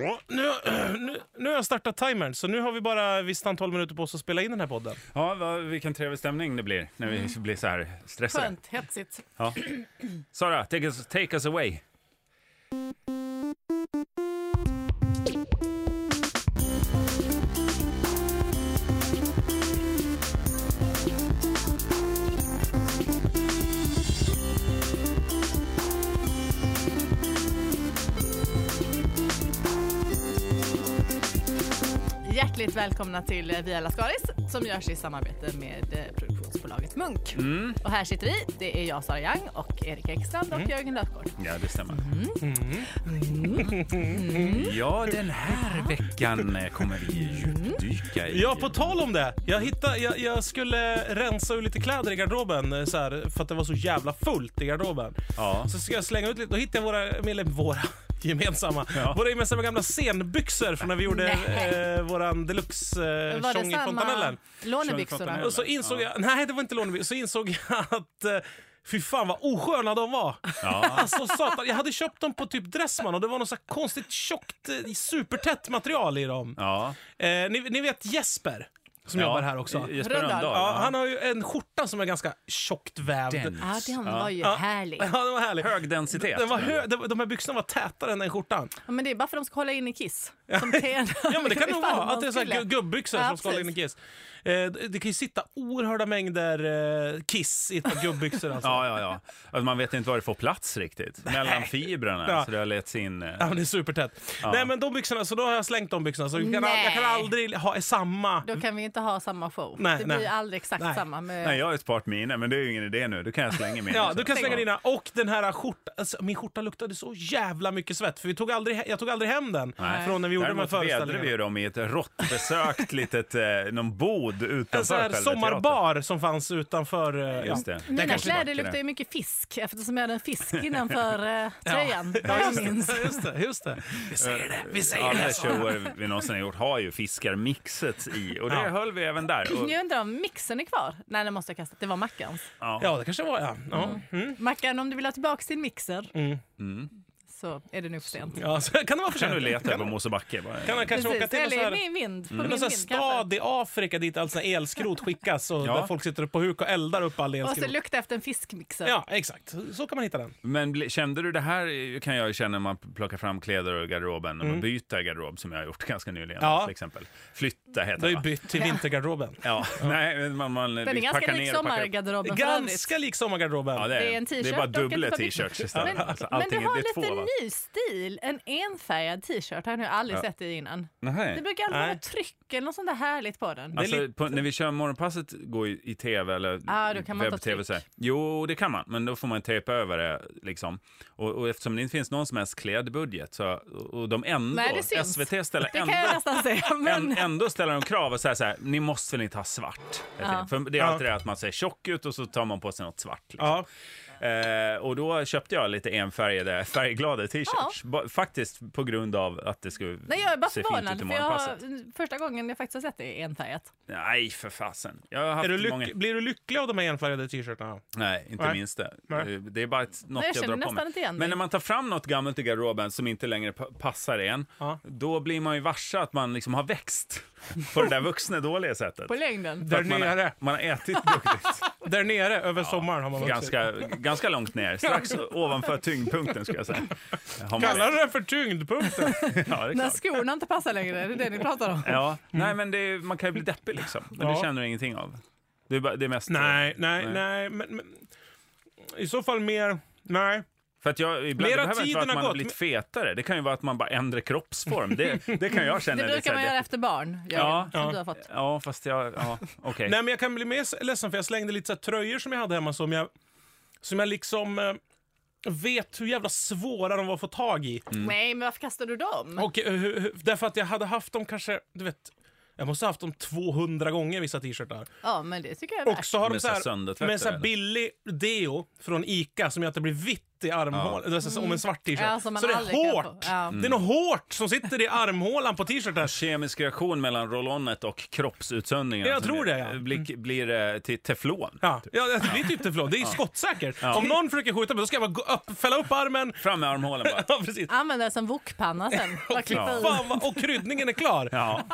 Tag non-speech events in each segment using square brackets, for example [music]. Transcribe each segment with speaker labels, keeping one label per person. Speaker 1: Nu, [clears throat] nu, nu har jag startat timern, så nu har vi bara ett visst antal minuter på oss att spela in den här podden.
Speaker 2: Ja, vad, vilken trevlig stämning det blir när vi
Speaker 1: Mm.
Speaker 2: blir så här stressade.
Speaker 3: Skönt, hetsigt.
Speaker 2: Ja. Sara, take us, take us away.
Speaker 3: Hjärtligt välkomna till eh, Via Lascaris som görs i samarbete med eh, produktionsbolaget Munk.
Speaker 1: Mm.
Speaker 3: Och här sitter vi. Det är jag, Sara Young, och Erik Ekstrand och Jörgen Löfgård.
Speaker 2: Ja, det stämmer.
Speaker 1: Mm.
Speaker 2: Ja, den här veckan eh, kommer vi djupdyka i.
Speaker 1: Mm. Ja, på tal om det! Jag, hittade, jag, jag skulle rensa ur lite kläder i garderoben eh, så här, för att det var så jävla fullt i garderoben.
Speaker 2: Ja.
Speaker 1: Så ska jag slänga ut lite. Då hittade jag våra, medlem, våra [laughs] gemensamma,
Speaker 2: Ja.
Speaker 1: våra gemensamma gamla scenbyxor från när vi gjorde
Speaker 3: Nej.
Speaker 1: eh, våran
Speaker 3: Var
Speaker 1: deluxe-tjong
Speaker 3: det
Speaker 1: i Fontanellen.
Speaker 3: samma lånebyxorna?
Speaker 2: Fontanellen.
Speaker 1: Och så insåg jag, nej det var inte Låneby, så insåg jag att eh, Fy fan vad osköna de var!
Speaker 2: Ja.
Speaker 1: [laughs] Alltså satan, jag hade köpt dem på typ Dressman och det var något så här konstigt tjockt, eh, supertätt material i dem.
Speaker 2: Ja.
Speaker 1: Eh, ni, ni vet Jesper, som jobbar här också.
Speaker 2: Jesper
Speaker 3: Rönndahl.
Speaker 2: Rönndahl.
Speaker 1: Ja, han har ju en skjorta som är ganska tjockt vävd.
Speaker 2: Den.
Speaker 3: Ja, den var ju härlig.
Speaker 1: [laughs] Ja, den var härlig.
Speaker 2: Hög densitet.
Speaker 1: Den var hö- de, de här byxorna var tätare än den skjortan.
Speaker 3: Ja, men det är bara för att de ska hålla in i Kiss. Som TN.
Speaker 1: [laughs] Ja,
Speaker 3: [laughs]
Speaker 1: men det kan nog
Speaker 3: Ifall
Speaker 1: vara.
Speaker 3: de
Speaker 1: Att det är så här
Speaker 3: skulle.
Speaker 1: gu- gubbbyxor
Speaker 3: Ja,
Speaker 1: som ska hålla in i kiss. Eh, det det kan ju sitta oerhörda mängder eh, kiss i ett par gubbyxor. Alltså.
Speaker 2: Ja, ja, ja. Alltså, man vet inte var det får plats riktigt. Mellan fibrerna.
Speaker 1: Ja.
Speaker 2: Så det har lett sig in... eh,
Speaker 1: Ja, men det är supertätt. Nej, men de byxorna, så då har jag slängt de byxorna. Så jag kan,
Speaker 3: Nej.
Speaker 1: jag kan aldrig ha samma.
Speaker 3: Då kan vi inte ha samma show.
Speaker 1: Nej,
Speaker 3: det blir
Speaker 1: nej.
Speaker 3: ju aldrig exakt
Speaker 1: Nej.
Speaker 3: samma. Med...
Speaker 2: Nej, jag har ett part mina, men det är ju ingen idé nu. Då kan jag slänga mina.
Speaker 1: Ja, du kan slänga
Speaker 2: Ja.
Speaker 1: dina. Och den här skjortan. Alltså, min skjorta luktade så jävla mycket svett. För vi tog aldrig, he- jag tog aldrig hem den
Speaker 2: Nej.
Speaker 1: från när vi gjorde de här
Speaker 2: Däremot vädrade vi ju
Speaker 1: föreställningarna.
Speaker 2: dem i ett råttbesökt [laughs] litet, eh, någon bod utanför
Speaker 1: En sån Alltså, här
Speaker 2: själva
Speaker 1: sommarbar som fanns utanför. eh,
Speaker 2: teatern. Just det. Den
Speaker 3: Mina
Speaker 2: kanske
Speaker 3: kläder
Speaker 2: vacker
Speaker 3: luktar ju mycket fisk eftersom jag hade en fisk innanför eh, tröjan.
Speaker 1: [laughs] Ja,
Speaker 3: Jag
Speaker 1: just
Speaker 3: minns.
Speaker 1: det. Just det, just det. Vi säger det. Vi säger
Speaker 2: Alla
Speaker 1: det. Så.
Speaker 2: shower vi någonsin har gjort har ju fiskarmixet i och det
Speaker 1: Ja.
Speaker 2: höll vi även där. Och,
Speaker 3: Jag undrar om mixen är kvar? Nej, den måste jag kasta. Det var Mackans.
Speaker 2: ja.
Speaker 1: Ja, det kanske var ja. Ja, mm.
Speaker 3: Mackan, om du vill ha tillbaka din mixer
Speaker 2: Mm.
Speaker 3: så är det nu för sent.
Speaker 1: ja så kan det vara för
Speaker 2: Kan du
Speaker 1: sent.
Speaker 2: leta på
Speaker 1: Kan,
Speaker 2: Mosebacke? bara?
Speaker 1: kan han kanske åka
Speaker 3: Precis,
Speaker 1: till en sån
Speaker 3: eller i
Speaker 1: här,
Speaker 3: min vind. På
Speaker 2: Mm.
Speaker 1: någon
Speaker 3: min
Speaker 1: sån här
Speaker 3: vind
Speaker 1: stad
Speaker 3: kanske.
Speaker 1: i Afrika dit allt sån här elskrot skickas och
Speaker 2: Ja.
Speaker 1: där folk sitter upp på huk och eldar upp all
Speaker 3: Och så
Speaker 1: elskrot.
Speaker 3: lukta efter en fiskmixer.
Speaker 1: Ja, exakt. Så kan man hitta den.
Speaker 2: Men bli- kände du det här kan jag ju känna när man plockar fram kläder ur garderoben, när man byter garderob som jag har gjort [laughs] ganska nyligen
Speaker 1: Mm. Ja.
Speaker 2: till exempel. Flytta heter
Speaker 1: Du har
Speaker 2: det
Speaker 1: ju
Speaker 2: va?
Speaker 1: bytt till vintergarderoben.
Speaker 2: Ja, nej, men man, man
Speaker 3: Den är ganska
Speaker 2: packar
Speaker 3: lik
Speaker 2: ner och packar upp.
Speaker 3: sommargarderoben för övrigt.
Speaker 1: Ganska lik sommargarderoben.
Speaker 2: Ja, det, är,
Speaker 3: Det är
Speaker 2: den.
Speaker 3: en
Speaker 2: Det
Speaker 3: t-shirt
Speaker 2: är bara
Speaker 3: och ett
Speaker 2: dubbla
Speaker 3: par byxor. [laughs]
Speaker 2: t-shirts istället.
Speaker 3: Men,
Speaker 2: Alltså,
Speaker 3: men du
Speaker 2: allting är-
Speaker 3: har
Speaker 2: det är
Speaker 3: lite
Speaker 2: två, va?
Speaker 3: ny stil. En enfärgad t-shirt har jag nu aldrig sett det innan.
Speaker 2: Nej.
Speaker 3: Det brukar aldrig
Speaker 1: Nej.
Speaker 3: vara något tryck eller något sånt där härligt på den.
Speaker 2: Alltså,
Speaker 1: lite-
Speaker 2: på, när vi kör morgonpasset går i, i tv eller
Speaker 3: Ah, då kan man ta
Speaker 2: webb-tv
Speaker 3: tryck.
Speaker 2: så här. Jo, det kan man, men då får man tejpa över det. Liksom. Och, och eftersom det inte finns någon som helst klädbudget så, och och de ändå,
Speaker 3: Nej, det syns.
Speaker 2: SVT ställer
Speaker 3: Det
Speaker 2: ändå,
Speaker 3: kan jag nästan säga. Men...
Speaker 2: än- ändå ställer de krav och säger så här, ni måste väl inte ha svart? För det är alltid det att man ser tjock ut och så tar man på sig något svart. Liksom.
Speaker 1: Ja.
Speaker 2: Eh, och då köpte jag lite enfärgade, färgglada t-shirts. Ba- Faktiskt på grund av att det skulle
Speaker 3: Nej, jag är bara
Speaker 2: se fint ut
Speaker 3: förvånad.
Speaker 2: i
Speaker 3: För jag har,
Speaker 2: morgonpasset.
Speaker 3: första gången jag faktiskt har sett det är enfärgat.
Speaker 2: Nej, för fasen. Jag har haft
Speaker 1: Är du lyck-
Speaker 2: många...
Speaker 1: Blir du lycklig av de här enfärgade t-shirtarna?
Speaker 2: Nej, inte
Speaker 1: Nej.
Speaker 2: minst det. Eh,
Speaker 1: Nej.
Speaker 2: Det är bara ett, något
Speaker 3: jag
Speaker 2: jag,
Speaker 3: känner
Speaker 2: drar på
Speaker 3: nästan
Speaker 2: mig.
Speaker 3: inte igen
Speaker 2: Men
Speaker 3: dig.
Speaker 2: när man tar fram något gammalt i garderoben som inte längre pa- passar en,
Speaker 1: Ja.
Speaker 2: då blir man ju varse att man liksom
Speaker 1: [laughs]
Speaker 2: har växt på det där vuxna dåliga sättet.
Speaker 3: På längden.
Speaker 1: Där
Speaker 2: Att man, har,
Speaker 1: nere,
Speaker 2: man har ätit
Speaker 1: [laughs]
Speaker 2: duktigt.
Speaker 1: där nere över sommaren har man vuxit.
Speaker 2: ganska, ganska långt ner, strax ovanför tyngdpunkten skulle
Speaker 1: [laughs]
Speaker 2: jag säga. Har man
Speaker 1: Kallar du
Speaker 2: det?
Speaker 1: det för
Speaker 2: [laughs]
Speaker 1: tyngdpunkten?
Speaker 2: Ja, det är
Speaker 3: När
Speaker 2: klart.
Speaker 3: skorna inte passar längre, det är det ni pratar
Speaker 1: [laughs]
Speaker 3: om.
Speaker 2: Ja, nej men det är, man kan ju bli deppig liksom. Men
Speaker 1: Mm. Ja.
Speaker 2: det känner du ingenting av. Det är, bara, det är mest...
Speaker 1: nej, nej,
Speaker 2: Nej.
Speaker 1: nej. Men, men, I så fall mer... Nej.
Speaker 2: För att jag, ibland
Speaker 1: Mera
Speaker 2: det behöver inte
Speaker 1: tiden
Speaker 2: vara att
Speaker 1: har
Speaker 2: man har
Speaker 1: gått,
Speaker 2: blivit fetare. Det kan ju vara att man bara ändrar
Speaker 1: [laughs]
Speaker 2: kroppsform. Det, det kan jag känna.
Speaker 3: Det
Speaker 2: är så
Speaker 3: brukar
Speaker 2: här
Speaker 3: man göra efter barn, Jörgen,
Speaker 2: Ja.
Speaker 3: som
Speaker 1: Ja.
Speaker 3: du har fått.
Speaker 2: Ja, fast jag... Ja, okej.
Speaker 1: nej, men jag kan bli mer s- ledsen för jag slängde lite så här tröjor som jag hade hemma som jag, som jag liksom eh, vet hur jävla svåra de var att få tag i.
Speaker 3: Nej, men varför kastar du dem?
Speaker 1: Mm. Och, eh, hur- hur- därför att jag hade haft dem kanske, du vet, jag måste ha haft dem 200 gånger vissa t-shirtar.
Speaker 3: Ja, men det tycker jag är värt.
Speaker 1: Och så har de
Speaker 2: Med
Speaker 1: så
Speaker 2: så här
Speaker 1: här,
Speaker 2: söndertvättade,
Speaker 1: med så här
Speaker 2: eller?
Speaker 1: billig deo från Ica som gör att det blir vitt i armhålan. Alltså, Som en svart t-shirt.
Speaker 3: Ja, som man
Speaker 1: så det är
Speaker 3: aldrig kan få.
Speaker 1: hårt.
Speaker 3: Ja.
Speaker 1: Det är
Speaker 2: Mm.
Speaker 1: något hårt som sitter i armhålan på t-shirten.
Speaker 2: Kemisk reaktion mellan rollonet och kroppsutsöndringen.
Speaker 1: Ja, jag
Speaker 2: som
Speaker 1: tror det,
Speaker 2: blir,
Speaker 1: ja. Mm.
Speaker 2: Blir, blir eh, till teflon.
Speaker 1: Ja, ja, det blir typ teflon. Det är skottsäkert. Om någon försöker skjuta mig, då ska jag bara gå upp, fälla upp armen. [laughs]
Speaker 2: Fram med armhålen bara.
Speaker 1: Ja, precis.
Speaker 3: Använd det som
Speaker 1: [laughs]
Speaker 3: wokpanna sen. Bara klippa i.
Speaker 1: Fan, vad, och kryddningen är klar.
Speaker 2: Ja.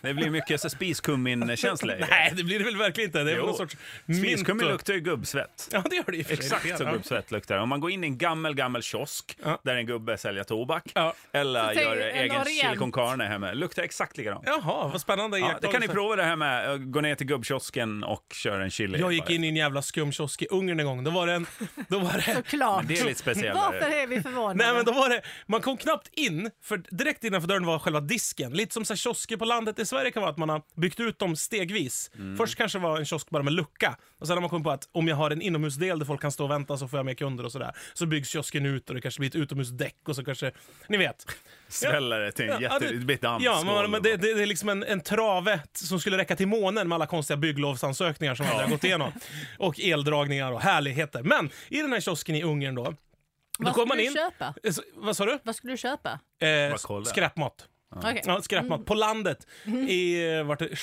Speaker 2: Det blir mycket spiskummin-känsla i det.
Speaker 1: Nej, det blir det väl verkligen inte. Det är
Speaker 2: Jo.
Speaker 1: väl någon sorts mint.
Speaker 2: Spiskummin
Speaker 1: och-
Speaker 2: luktar ju gubbsvett.
Speaker 1: Ja, det gör det i och för sig.
Speaker 2: Exakt
Speaker 1: Det
Speaker 2: så
Speaker 1: är fel.
Speaker 2: gubbsvett luktar det. Om man går in i en gammel, gammel kiosk
Speaker 1: Ja.
Speaker 2: där en gubbe säljer tobak
Speaker 1: Ja.
Speaker 2: eller
Speaker 3: Tänk
Speaker 2: gör
Speaker 3: en
Speaker 2: egen
Speaker 3: orient.
Speaker 2: chili con carne hemma, luktar exakt likadant.
Speaker 1: Ja. Jaha, vad spännande
Speaker 2: Ja, det kan ni
Speaker 1: iakttagelse.
Speaker 2: prova det här med. eh, Gå ner till gubbkiosken och köra en chili.
Speaker 1: Jag gick
Speaker 2: bara.
Speaker 1: in i en jävla skum kiosk i Ungern en gång. Då var det en... Då var det,
Speaker 3: Såklart.
Speaker 2: Det är lite
Speaker 3: Varför
Speaker 2: speciellare.
Speaker 3: är vi förvånade?
Speaker 1: nej, men då var det... Man kom knappt in, för direkt innanför dörren var själva disken. Lite som så här kiosker på landet i Sverige kan vara, att man har byggt ut dem stegvis.
Speaker 2: Mm.
Speaker 1: Först kanske var en kiosk bara med lucka. Och sen har man kommit på att om jag har en inomhusdel där folk kan stå och vänta så får jag mer kunder och sådär. Så byggs kiosken ut och det kanske blir ett utomhusdäck och så kanske... Ni vet.
Speaker 2: Sväller det till en jätte...
Speaker 1: det-
Speaker 2: Det blir ett
Speaker 1: Ja, men,
Speaker 2: dammskål.
Speaker 1: men det, det, det är liksom en, en trave t- som skulle räcka till månen med alla konstiga bygglovsansökningar som aldrig har gått igenom. Och eldragningar och härligheter. Men i den här kiosken i Ungern då, då
Speaker 3: Vad
Speaker 1: kommer man
Speaker 3: skulle
Speaker 1: in...
Speaker 3: du köpa?
Speaker 1: Eh, så- Vad sa du?
Speaker 3: Vad skulle du köpa?
Speaker 1: Eh,
Speaker 2: kolla.
Speaker 1: skräpmat.
Speaker 3: Okej.
Speaker 1: Ja, skräpmat. På landet. I eh, vart det?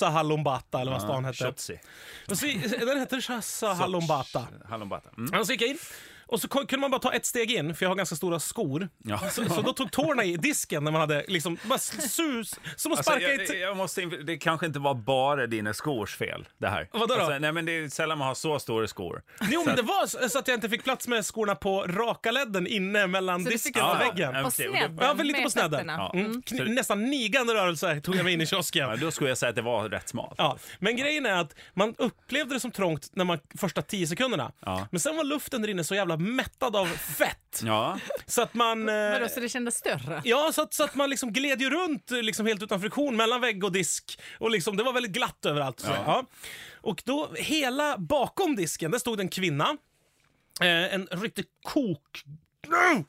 Speaker 1: Chatsahalumbata eller vad stan hette.
Speaker 2: Shotzi.
Speaker 1: Och så- eh, Den hette Chatsahalumbata.
Speaker 2: Hallonbata. Mm.
Speaker 1: Ja, Så gick jag in. Och så kon- kunde man bara ta ett steg in, för jag har ganska stora skor.
Speaker 2: Ja.
Speaker 1: Så, så då tog tårna i disken när man hade liksom bara sus, som att
Speaker 2: Alltså,
Speaker 1: sparka i...
Speaker 2: jag,
Speaker 1: t-
Speaker 2: jag måste, inf- det kanske inte var bara dina skors fel, det här.
Speaker 1: Vadå då?
Speaker 2: Alltså, nej, men det är sällan man har så stora skor.
Speaker 1: Jo, men det var så så att jag inte fick plats med skorna på raka ledden inne mellan
Speaker 3: Så du fick
Speaker 1: disken och
Speaker 2: gå
Speaker 1: väggen.
Speaker 2: Ja,
Speaker 3: På
Speaker 2: okej, och då-
Speaker 3: snedden
Speaker 1: Ja, väl lite
Speaker 3: med
Speaker 1: på snedden.
Speaker 3: fötterna.
Speaker 2: Ja.
Speaker 1: Mm. Kn- Nästan nigande rörelser tog jag mig in i
Speaker 2: Ja,
Speaker 1: kiosken.
Speaker 2: då skulle jag säga att det var rätt smalt.
Speaker 1: Ja, men grejen är att man upplevde det som trångt när man första tio sekunderna.
Speaker 2: Ja. Mm.
Speaker 1: Men sen var luften där inne så jävla mättad av fett.
Speaker 2: Ja.
Speaker 1: Så att man... eh,
Speaker 3: Vadå, så det kändes större?
Speaker 1: Ja, så att, så att man liksom gled ju runt eh, liksom helt utan friktion mellan vägg och disk. Och liksom, det var väldigt glatt överallt. Så, ja. Och då, hela bakom disken, där stod en kvinna. Eh, en riktig kok... [clears throat]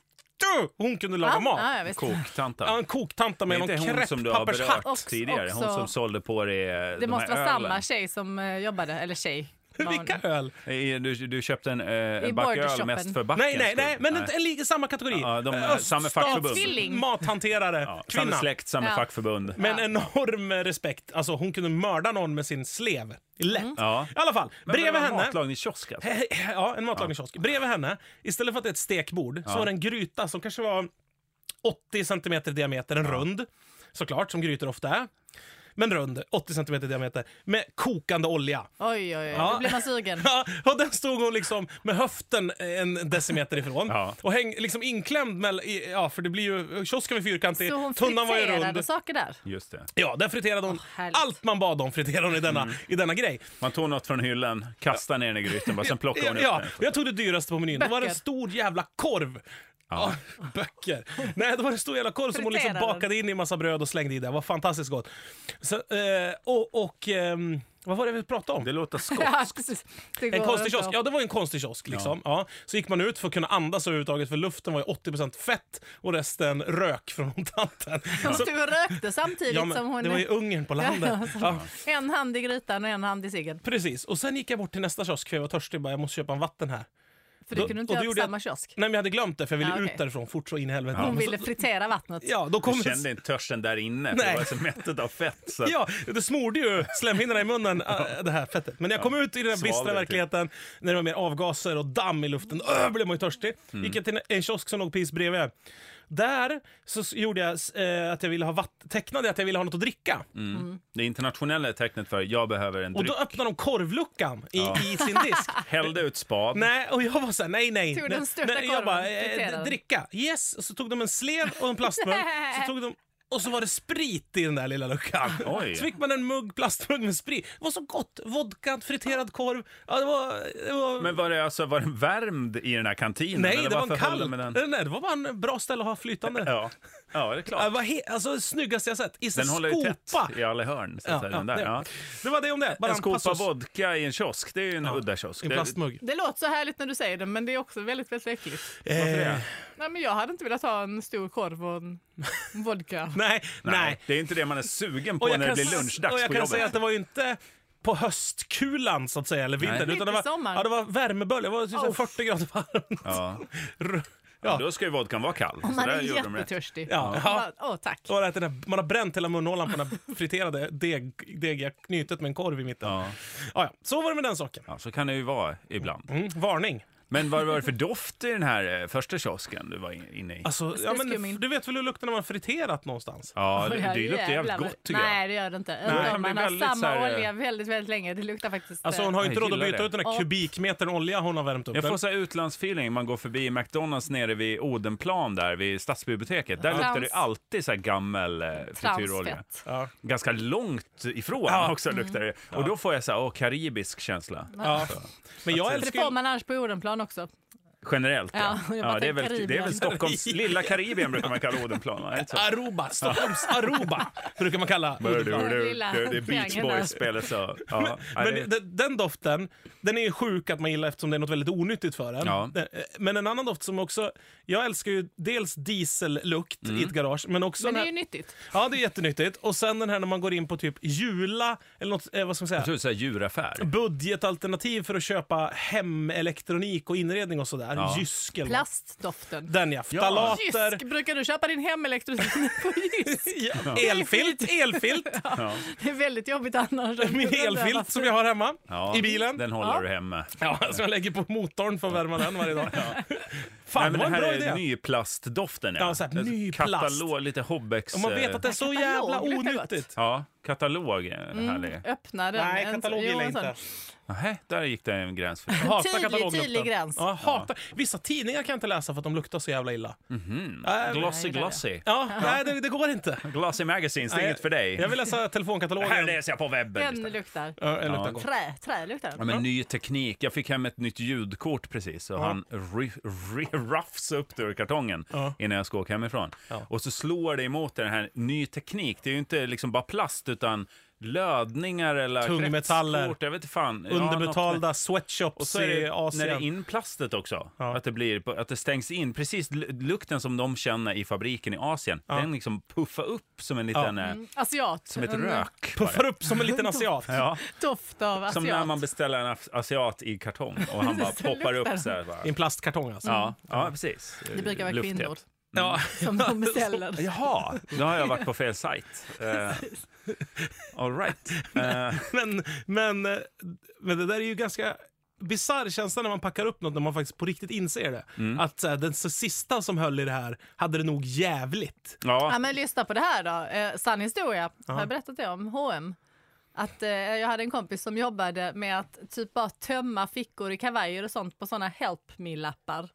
Speaker 1: Hon kunde laga mat.
Speaker 3: Ah, Ja, ja, visst.
Speaker 2: Koktanta.
Speaker 1: Ja, en koktanta
Speaker 2: det
Speaker 1: med
Speaker 2: är
Speaker 1: någon
Speaker 2: inte hon som du har berört
Speaker 1: kreppappershatt.
Speaker 3: Också-
Speaker 2: tidigare. Hon
Speaker 3: också-
Speaker 2: som sålde på dig eh, de
Speaker 3: Det
Speaker 2: här
Speaker 3: måste vara
Speaker 2: ölen.
Speaker 3: samma tjej som eh, jobbade, eller tjej. Vad hon-
Speaker 1: Vilka öl?
Speaker 2: I- Du, du köpte en eh, back öl
Speaker 3: bordershopen.
Speaker 2: mest för backen.
Speaker 1: Nej, nej, nej, men en, en, li- samma kategori.
Speaker 2: Ja, de är
Speaker 1: Eh,
Speaker 2: samma
Speaker 1: öststats-
Speaker 2: fackförbund.
Speaker 3: Tvilling.
Speaker 1: [laughs] Mathanterare,
Speaker 2: Ja, samma
Speaker 1: kvinna.
Speaker 2: släkt, samma
Speaker 3: Ja.
Speaker 2: fackförbund.
Speaker 1: Men enorm respekt. Alltså, hon kunde mörda någon med sin slev. Lätt.
Speaker 2: Mm. Ja.
Speaker 1: I alla fall,
Speaker 2: Men det
Speaker 1: bredvid
Speaker 2: var
Speaker 1: henne...
Speaker 2: Matlagning i kiosk alltså.
Speaker 1: [laughs] Ja, en matlagningskiosk. Bredvid henne, istället för att det är ett stekbord, så var det en gryta som kanske var 80 centimeter i diameter, en rund. Såklart, som grytor ofta är. Men rund, 80 centimeter i diameter, med kokande olja. [laughs]
Speaker 3: Oj, oj, oj.
Speaker 1: Ja.
Speaker 3: Nu blir man sugen.
Speaker 1: [laughs] Ja, och den stod hon liksom med höften en decimeter ifrån.
Speaker 2: Ja.
Speaker 1: Och häng, liksom inklämd mellan, ja för det blir ju, kiosken var fyrkantig,
Speaker 3: Så hon
Speaker 1: tunnan var ju
Speaker 3: friterade
Speaker 1: rund.
Speaker 3: saker där?
Speaker 2: Just det.
Speaker 1: Ja, där friterade hon
Speaker 3: härligt.
Speaker 1: allt man bad om friterade hon i denna, i denna grej.
Speaker 2: Man tog något från hyllan, kastade ner den i grytan, bara, sen plockade hon upp
Speaker 1: Ja,
Speaker 2: den.
Speaker 1: och jag tog det dyraste på menyn. Det var en
Speaker 3: Böcker.
Speaker 1: stor jävla korv. Ja. böcker. Nej, det var en stor jävla korv som hon liksom
Speaker 3: Friterade.
Speaker 1: bakade in i massa bröd och slängde i det. Det var fantastiskt gott. Så, eh, och och ehm, vad var det vi pratade om?
Speaker 2: Det låter
Speaker 3: Ja,
Speaker 2: skotsk.
Speaker 3: precis. Det
Speaker 1: En
Speaker 3: går
Speaker 1: konstig
Speaker 3: inte
Speaker 1: kiosk.
Speaker 3: att-
Speaker 1: Ja, det var ju en konstig kiosk. Liksom. Ja. Så gick man ut för att kunna andas överhuvudtaget för luften var ju 80 fett och resten rök från [laughs] tanten.
Speaker 3: Hon
Speaker 1: Så,
Speaker 3: stod och rökte samtidigt
Speaker 1: alltså- ja, men,
Speaker 3: som hon...
Speaker 1: det var ju Ungern på landet. Ja,
Speaker 3: En hand i grytan och en hand i ciggen.
Speaker 1: precis. Och sen gick jag bort till nästa kiosk för jag var törstig bara jag måste köpa en vatten här.
Speaker 3: För det
Speaker 1: Då-
Speaker 3: kunde du inte
Speaker 1: och då
Speaker 3: göra på
Speaker 1: gjorde jag-
Speaker 3: samma kiosk.
Speaker 1: Nej, men jag hade glömt det för jag ville
Speaker 3: Ja, okej.
Speaker 1: ut därifrån fort så in i helvete. Men
Speaker 3: Hon
Speaker 1: så-
Speaker 3: ville fritera vattnet.
Speaker 1: Ja, då kom
Speaker 2: Jag kände inte törsten där inne, för
Speaker 1: Nej.
Speaker 2: det var så mättet av fett. Så att-
Speaker 1: Ja, det smorde ju slemhinnorna i munnen, äh, det här fettet. Men när jag kom ut i den här
Speaker 2: Svalde typ.
Speaker 1: bistra
Speaker 2: det,
Speaker 1: verkligheten, när det var mer avgaser och damm i luften, öh, blev man ju törstig.
Speaker 2: Mm.
Speaker 1: Gick jag till en- en kiosk som låg precis bredvid. Där så s- gjorde jag s- eh, att jag ville ha vatten, tecknade att jag ville ha något att dricka.
Speaker 2: Det internationella tecknet för jag behöver en
Speaker 1: Och
Speaker 2: Mm, dryck.
Speaker 1: då öppnade de korvluckan i, i sin disk.
Speaker 2: Hällde ut spad.
Speaker 1: Nej, och jag var såhär, nej, nej.
Speaker 3: Tog
Speaker 1: nej,
Speaker 3: den största
Speaker 1: nej, jag
Speaker 3: korven,
Speaker 1: bara, eh,
Speaker 3: friterade
Speaker 1: d-
Speaker 3: den.
Speaker 1: dricka. Yes, och så tog de en slev och en
Speaker 3: [laughs]
Speaker 1: plastmugg. så tog de, och så var det sprit i den där lilla luckan.
Speaker 2: [laughs] Oj.
Speaker 1: Så fick man en mugg, plastmugg med sprit. Det var så gott! Vodka, friterad korv. Ja, det var, det var,
Speaker 2: Men var det, alltså, var den värmd i den här kantinen?
Speaker 1: nej,
Speaker 2: eller
Speaker 1: det var
Speaker 2: varför
Speaker 1: en kall.
Speaker 2: höll de med
Speaker 1: Nej, nej, det var bara en bra ställe att ha flytande.
Speaker 2: Ja. ja, det är
Speaker 1: Det
Speaker 2: klart.
Speaker 1: var he- alltså, snyggaste jag sett. I
Speaker 2: Den håller ju
Speaker 1: skopa.
Speaker 2: tätt i alla hörn. Så att
Speaker 1: Ja,
Speaker 2: säga,
Speaker 1: ja,
Speaker 2: den där.
Speaker 1: det-
Speaker 2: Ja.
Speaker 1: Det var det om det. Bara
Speaker 2: En skopa
Speaker 1: passus.
Speaker 2: vodka i en kiosk, det är ju en udda kiosk.
Speaker 1: I en
Speaker 2: Det-
Speaker 1: plastmugg.
Speaker 3: Det låter så härligt när du säger det, men det är också väldigt, väldigt äckligt.
Speaker 2: varför
Speaker 1: Eh,
Speaker 2: det?
Speaker 3: Nej, men jag hade inte velat ha en stor korv och
Speaker 1: [laughs]
Speaker 3: en vodka.
Speaker 1: Nej, nej.
Speaker 2: Nej, det är inte det man är sugen på när det blir
Speaker 1: s-
Speaker 2: lunchdags
Speaker 1: och jag
Speaker 2: på
Speaker 1: kan
Speaker 2: jobbet.
Speaker 1: säga att det var ju inte på höstkulan så att säga, eller vintern.
Speaker 2: Nej.
Speaker 1: Utan det var,
Speaker 3: Vintersommar.
Speaker 1: ja, det var värmebölja, det var typ så här
Speaker 3: Oh.
Speaker 1: 40 grader varmt. [laughs]
Speaker 2: Ja.
Speaker 1: Ja.
Speaker 2: Ja.
Speaker 1: Ja.
Speaker 2: Då ska ju vodkan vara kall.
Speaker 3: Om
Speaker 2: Så
Speaker 3: man
Speaker 2: där
Speaker 3: är
Speaker 2: gjorde de rätt.
Speaker 3: jättetörstig.
Speaker 1: Ja.
Speaker 3: Bara, Åh, tack.
Speaker 1: Och att den här, man har bränt hela munhålan på det här friterade deg, degiga knytet med en korv i mitten. Ja.
Speaker 2: Ja.
Speaker 1: Ja, så var det med den saken.
Speaker 2: ja, så kan det ju vara ibland.
Speaker 1: Mm, varning.
Speaker 2: Men vad var det för doft i den här eh, första kiosken du var in- inne i?
Speaker 1: Alltså,
Speaker 3: ska
Speaker 1: ja,
Speaker 3: skum in.
Speaker 1: men, du vet väl hur det luktar när man har friterat någonstans?
Speaker 2: Ja, det,
Speaker 3: Oj,
Speaker 2: det luktar jävligt
Speaker 3: jävlar.
Speaker 2: gott tycker jag.
Speaker 3: Nej, det gör det inte.
Speaker 2: Det
Speaker 3: Utan
Speaker 2: kan bli
Speaker 3: Man har
Speaker 2: väldigt så
Speaker 3: samma
Speaker 2: här, eh,
Speaker 3: olja väldigt, väldigt länge. Det luktar faktiskt...
Speaker 1: Alltså
Speaker 3: eh,
Speaker 1: hon har ju
Speaker 2: Jag
Speaker 1: inte råd att
Speaker 2: gillar
Speaker 1: byta
Speaker 2: det.
Speaker 1: ut den här
Speaker 3: Ja.
Speaker 1: kubikmetern olja hon har värmt upp.
Speaker 2: Jag
Speaker 1: Den-
Speaker 2: får så här utlandsfeeling. Man går förbi McDonalds nere vid Odenplan där vid Stadsbiblioteket. Där
Speaker 3: Ja.
Speaker 2: luktar
Speaker 3: Trans-
Speaker 2: det alltid så här gammel eh, frityrolja.
Speaker 3: Transfett.
Speaker 1: ja.
Speaker 2: Ganska långt ifrån
Speaker 1: Ja.
Speaker 2: också luktar det. Och då får jag så här, åh, karibisk känsla.
Speaker 1: Ja. Men jag
Speaker 3: För det
Speaker 1: älskar
Speaker 3: får
Speaker 1: ju...
Speaker 3: man annars på Odenplan också.
Speaker 2: Generellt.
Speaker 3: Ja, jag bara
Speaker 2: det, är
Speaker 3: tänkte
Speaker 2: väl, det är väl
Speaker 3: Karibien.
Speaker 2: Stockholms... Lilla Karibien brukar man kalla Odenplan, va? Är
Speaker 1: [laughs]
Speaker 2: det inte så?
Speaker 1: Aruba, Stockholms Aruba brukar man kalla Odenplan.
Speaker 3: Den lilla
Speaker 2: Det är Beach
Speaker 3: triangeln där.
Speaker 2: Boys-spelet. Så. Ja, ja,
Speaker 1: Men
Speaker 2: det-
Speaker 1: de- den doften, den är ju sjuk att man gillar eftersom det är något väldigt onyttigt för en.
Speaker 2: Ja.
Speaker 1: Den- eh, Men en annan doft som också, jag älskar ju dels diesellukt
Speaker 2: Mm.
Speaker 1: i ett garage, men också den
Speaker 3: Men det
Speaker 1: här,
Speaker 3: är ju nyttigt.
Speaker 1: Ja, det är jättenyttigt. Och sen den här när man går in på typ Jula, eller något, eh, vad ska man säga?
Speaker 2: jag tror det är så här djuraffär.
Speaker 1: budgetalternativ för att köpa hemelektronik och inredning och sådär.
Speaker 2: Ja.
Speaker 1: Jysk eller något.
Speaker 3: Plastdoften.
Speaker 1: Den ja.
Speaker 2: Ja.
Speaker 1: Ftalater.
Speaker 3: Jysk! Brukar du köpa din hemelektronik på Jysk?
Speaker 1: Ja.
Speaker 3: [laughs]
Speaker 1: Elfilt. Elfilt.
Speaker 2: Ja.
Speaker 3: Det är väldigt jobbigt annars.
Speaker 1: Min elfilt som jag har hemma
Speaker 2: Ja,
Speaker 1: i bilen.
Speaker 2: Den håller
Speaker 3: Ja.
Speaker 2: du hemma.
Speaker 1: Ja, som jag lägger på motorn för att värma den varje dag.
Speaker 2: Nej,
Speaker 1: Fan,
Speaker 2: men
Speaker 1: det
Speaker 2: det
Speaker 1: var en
Speaker 2: här
Speaker 1: bra
Speaker 2: är
Speaker 1: idé.
Speaker 2: nyplastdoften.
Speaker 1: Ja, så här,
Speaker 2: Det är
Speaker 1: ny
Speaker 2: Katalog, lite Hobbex.
Speaker 1: Om man vet
Speaker 2: eh,
Speaker 1: att det Mm. är så
Speaker 3: Katalog
Speaker 1: jävla
Speaker 3: luktar gott.
Speaker 1: onyttigt.
Speaker 2: Ja, katalog är härlig.
Speaker 3: Öppna den.
Speaker 1: Nej,
Speaker 3: En-
Speaker 1: katalog
Speaker 3: jo,
Speaker 1: gillar jag
Speaker 3: en sån.
Speaker 1: inte.
Speaker 2: Nähä, där gick det en gräns. För.
Speaker 1: Jag hatar
Speaker 3: Tydlig,
Speaker 1: kataloglukten.
Speaker 3: tydlig gräns.
Speaker 1: Ja, jag hatar. Vissa tidningar kan jag inte läsa för att de luktar så jävla illa.
Speaker 2: Mhm.
Speaker 1: Äh,
Speaker 2: Glossy,
Speaker 3: Nej, det där,
Speaker 2: glossy.
Speaker 1: Ja, nej, det, det går inte.
Speaker 2: Glossy magazines, det är
Speaker 1: Nej,
Speaker 2: inget för dig.
Speaker 1: Jag vill läsa
Speaker 2: Det här
Speaker 1: telefonkatalogen.
Speaker 2: läser jag på webben.
Speaker 3: Den
Speaker 2: istället.
Speaker 3: luktar.
Speaker 1: Ja, det luktar
Speaker 2: Ja.
Speaker 1: gott.
Speaker 3: Trä, trä luktar
Speaker 2: Ja,
Speaker 3: den.
Speaker 2: men ny teknik. Jag fick hem ett nytt ljudkort precis och han ri- ri- rafsade upp det ur kartongen
Speaker 1: Ja.
Speaker 2: innan jag ska åka hemifrån.
Speaker 1: Ja.
Speaker 2: Och så slår det emot den här ny teknik. Det är ju inte liksom bara plast utan lödningar eller
Speaker 1: Tungmetaller.
Speaker 2: kretskort. Jag vet inte fan. Ja, något med-
Speaker 1: Underbetalda
Speaker 2: och
Speaker 1: sweatshops
Speaker 2: så är
Speaker 1: i
Speaker 2: det, när det är
Speaker 1: Asien.
Speaker 2: inplastet också,
Speaker 1: Ja.
Speaker 2: att, det blir, på- att det stängs in. Precis l- lukten som de känner i fabriken i Asien, den liksom puffar upp som en liten, eh,
Speaker 3: Mm, Asiat.
Speaker 2: som ett
Speaker 3: En
Speaker 2: rök. bara.
Speaker 1: Puffar upp som en liten asiat.
Speaker 2: [laughs] Ja.
Speaker 3: Doft av asiat.
Speaker 2: Som när man beställer en af- asiat i kartong och
Speaker 3: [laughs]
Speaker 2: han bara
Speaker 3: Så
Speaker 2: poppar
Speaker 3: luktar
Speaker 2: upp
Speaker 3: den. Mm.
Speaker 2: så här. Bara.
Speaker 1: I en plastkartong alltså.
Speaker 2: Ja, ja, precis.
Speaker 3: Det brukar vara
Speaker 2: Lufthet.
Speaker 3: kvinnor
Speaker 1: Ja.
Speaker 3: som
Speaker 1: [laughs]
Speaker 3: de beställer.
Speaker 2: Jaha, då har jag varit på fel
Speaker 3: [laughs]
Speaker 2: sajt. Uh, all right. Eh,
Speaker 1: [laughs] Men, men, eh, men det där är ju ganska bisarr känsla när man packar upp något när man faktiskt på riktigt inser det. Att så här, den så sista som höll i det här hade det nog jävligt.
Speaker 3: Ja,
Speaker 2: ja,
Speaker 3: men lyssna på det här då. Eh, sann historia. Har jag berättat det om H&M? Att eh, jag hade en kompis som jobbade med att typ bara tömma fickor i kavajer och sånt på såna help me-lappar.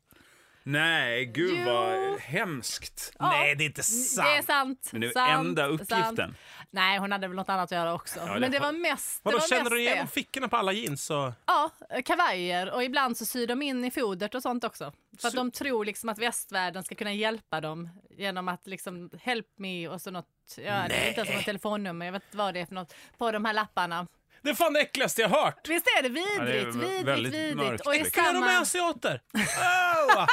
Speaker 2: nej, gud
Speaker 3: Jo.
Speaker 2: vad hemskt.
Speaker 3: Ja.
Speaker 1: Nej, det är inte sant.
Speaker 3: Det är sant.
Speaker 2: Men det är
Speaker 3: sant,
Speaker 2: enda uppgiften.
Speaker 3: sant. Nej, hon hade väl något annat att göra också.
Speaker 2: det-
Speaker 3: Men det var mest
Speaker 1: Vadå,
Speaker 3: det. Var
Speaker 1: känner
Speaker 3: mest
Speaker 1: du igenom
Speaker 3: det.
Speaker 1: fickorna på alla jeans? Så...
Speaker 3: Ja, kavajer och ibland så syr de in i fodret och sånt också. För att de tror liksom att västvärlden ska kunna hjälpa dem genom att liksom help me och så något, ja, det är inte ens något telefonnummer, jag vet inte vad det är för något, på de här lapparna.
Speaker 1: Det är fan det äckligaste jag hört!
Speaker 3: Visst är det vidrigt,
Speaker 2: Ja, det är
Speaker 3: vidrigt,
Speaker 2: väldigt
Speaker 3: vidrigt.
Speaker 2: mörkt,
Speaker 3: och i
Speaker 2: liksom.
Speaker 1: Kvinnor med
Speaker 3: samma...
Speaker 1: asiater!
Speaker 3: [laughs]
Speaker 1: Åh!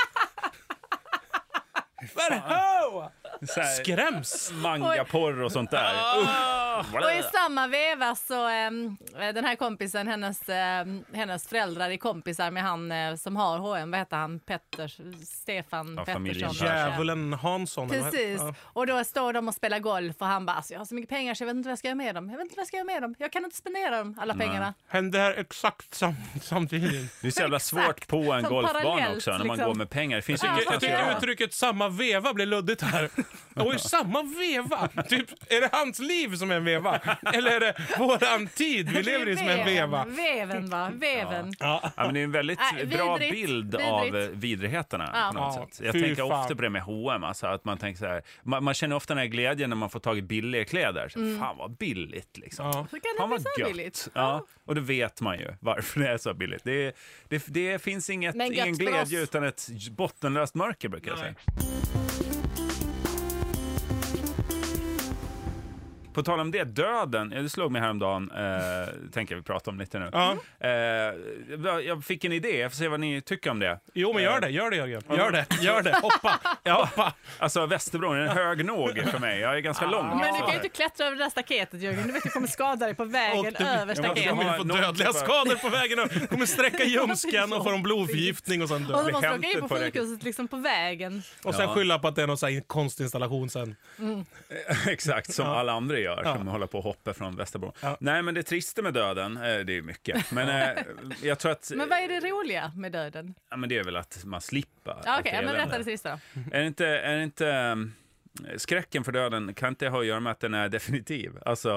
Speaker 1: Men åh!
Speaker 2: Så här,
Speaker 1: Skräms!
Speaker 2: Mangaporr och sånt där. Usch.
Speaker 3: Och i samma veva så ehm, den här kompisen, hennes, ehm, hennes föräldrar är kompisar med han eh, som har H&M, vad heter han, Petters, Stefan
Speaker 2: Ja, familjen
Speaker 3: Pettersson.
Speaker 1: Djävulen Hansson. eller vad heter-
Speaker 3: Precis.
Speaker 1: Ja.
Speaker 3: Och då står de och spelar golf och han bara alltså, jag har så mycket pengar så jag vet inte vad jag ska göra med dem. Jag vet inte vad jag ska göra med dem. Jag kan inte spendera dem, alla pengarna.
Speaker 1: Hände här exakt sam samtidigt.
Speaker 2: Det är så jävla
Speaker 3: Exakt.
Speaker 2: svårt på en
Speaker 3: Som
Speaker 2: golfbana
Speaker 3: parallellt,
Speaker 2: också när man
Speaker 3: liksom.
Speaker 2: går med pengar. Det finns ju
Speaker 3: Ja.
Speaker 2: ingenstans
Speaker 1: Jag
Speaker 2: att
Speaker 1: tycker
Speaker 2: göra.
Speaker 1: uttrycket samma veva blir luddigt här. Och i samma veva, typ, är det hans liv som är en veva? Eller är det våran tid vi lever i som är en veva?
Speaker 3: Veven va, veven.
Speaker 1: Ja.
Speaker 2: Ja, men det är en väldigt
Speaker 3: Nej,
Speaker 2: bra
Speaker 3: vidrigt,
Speaker 2: bild
Speaker 3: vidrigt.
Speaker 2: av eh, vidrigheterna.
Speaker 3: Ja.
Speaker 2: På något
Speaker 1: Ja,
Speaker 2: sätt. Jag
Speaker 1: fy
Speaker 2: tänker
Speaker 1: fan.
Speaker 2: ofta på det med H&M, alltså, att man tänker så här, man, man känner ofta den här glädjen när man får tag i billiga kläder. Så, Fan vad billigt liksom.
Speaker 1: Ja.
Speaker 3: Hur kan Mm. det
Speaker 2: Fan
Speaker 3: bli
Speaker 2: vad
Speaker 3: så
Speaker 2: gött.
Speaker 3: billigt?
Speaker 2: Ja, och då vet man ju varför det är så billigt. Det, det, det finns inget,
Speaker 3: Men gött
Speaker 2: ingen
Speaker 3: för
Speaker 2: glädje
Speaker 3: oss.
Speaker 2: utan ett bottenlöst mörker brukar jag säga.
Speaker 1: Nej.
Speaker 2: På På tal om det, döden. eh, Det slog mig häromdagen. Eh, tänker vi prata om lite nu.
Speaker 1: Ja.
Speaker 2: Eh, jag fick en idé. Jag får se vad ni tycker om det. Eh,
Speaker 1: Jo, men gör det, gör det Jörgen. Gör det, gör det. Hoppa, hoppa.
Speaker 2: Alltså Västerbron är hög nog för mig. Jag är ganska lång.
Speaker 3: Men du kan ju
Speaker 2: också.
Speaker 3: inte klättra över det där staketet Jörgen. Du vet du kommer skada dig på vägen
Speaker 1: du-
Speaker 3: över
Speaker 1: Jag
Speaker 2: Ja,
Speaker 3: staketet.
Speaker 1: kommer få
Speaker 2: någon
Speaker 1: dödliga
Speaker 2: för-
Speaker 1: skador på vägen och kommer sträcka ljumsken och få en blodförgiftning och sen
Speaker 3: Och
Speaker 1: dö.
Speaker 3: du måste åka
Speaker 2: hämtar
Speaker 3: in på
Speaker 2: på det.
Speaker 3: sjukhuset liksom på vägen.
Speaker 1: Och sen
Speaker 2: Ja.
Speaker 1: skylla på att det är någon så här konstinstallation sen.
Speaker 2: [laughs] Exakt, som alla andra gör som håller på och hoppar från Västerbron.
Speaker 1: Ja.
Speaker 2: Nej, men det trista med döden, eh, det är ju mycket. Men eh, jag tror att...
Speaker 3: Men vad är det roliga med döden?
Speaker 2: ja, men det är väl att man slipper.
Speaker 3: Ja,
Speaker 2: allt
Speaker 3: Okej, ja, men
Speaker 2: elände.
Speaker 3: berätta det sista då.
Speaker 2: Är det inte... Är det inte ehm, Skräcken för döden kan inte ha att göra med att den är definitiv. Alltså,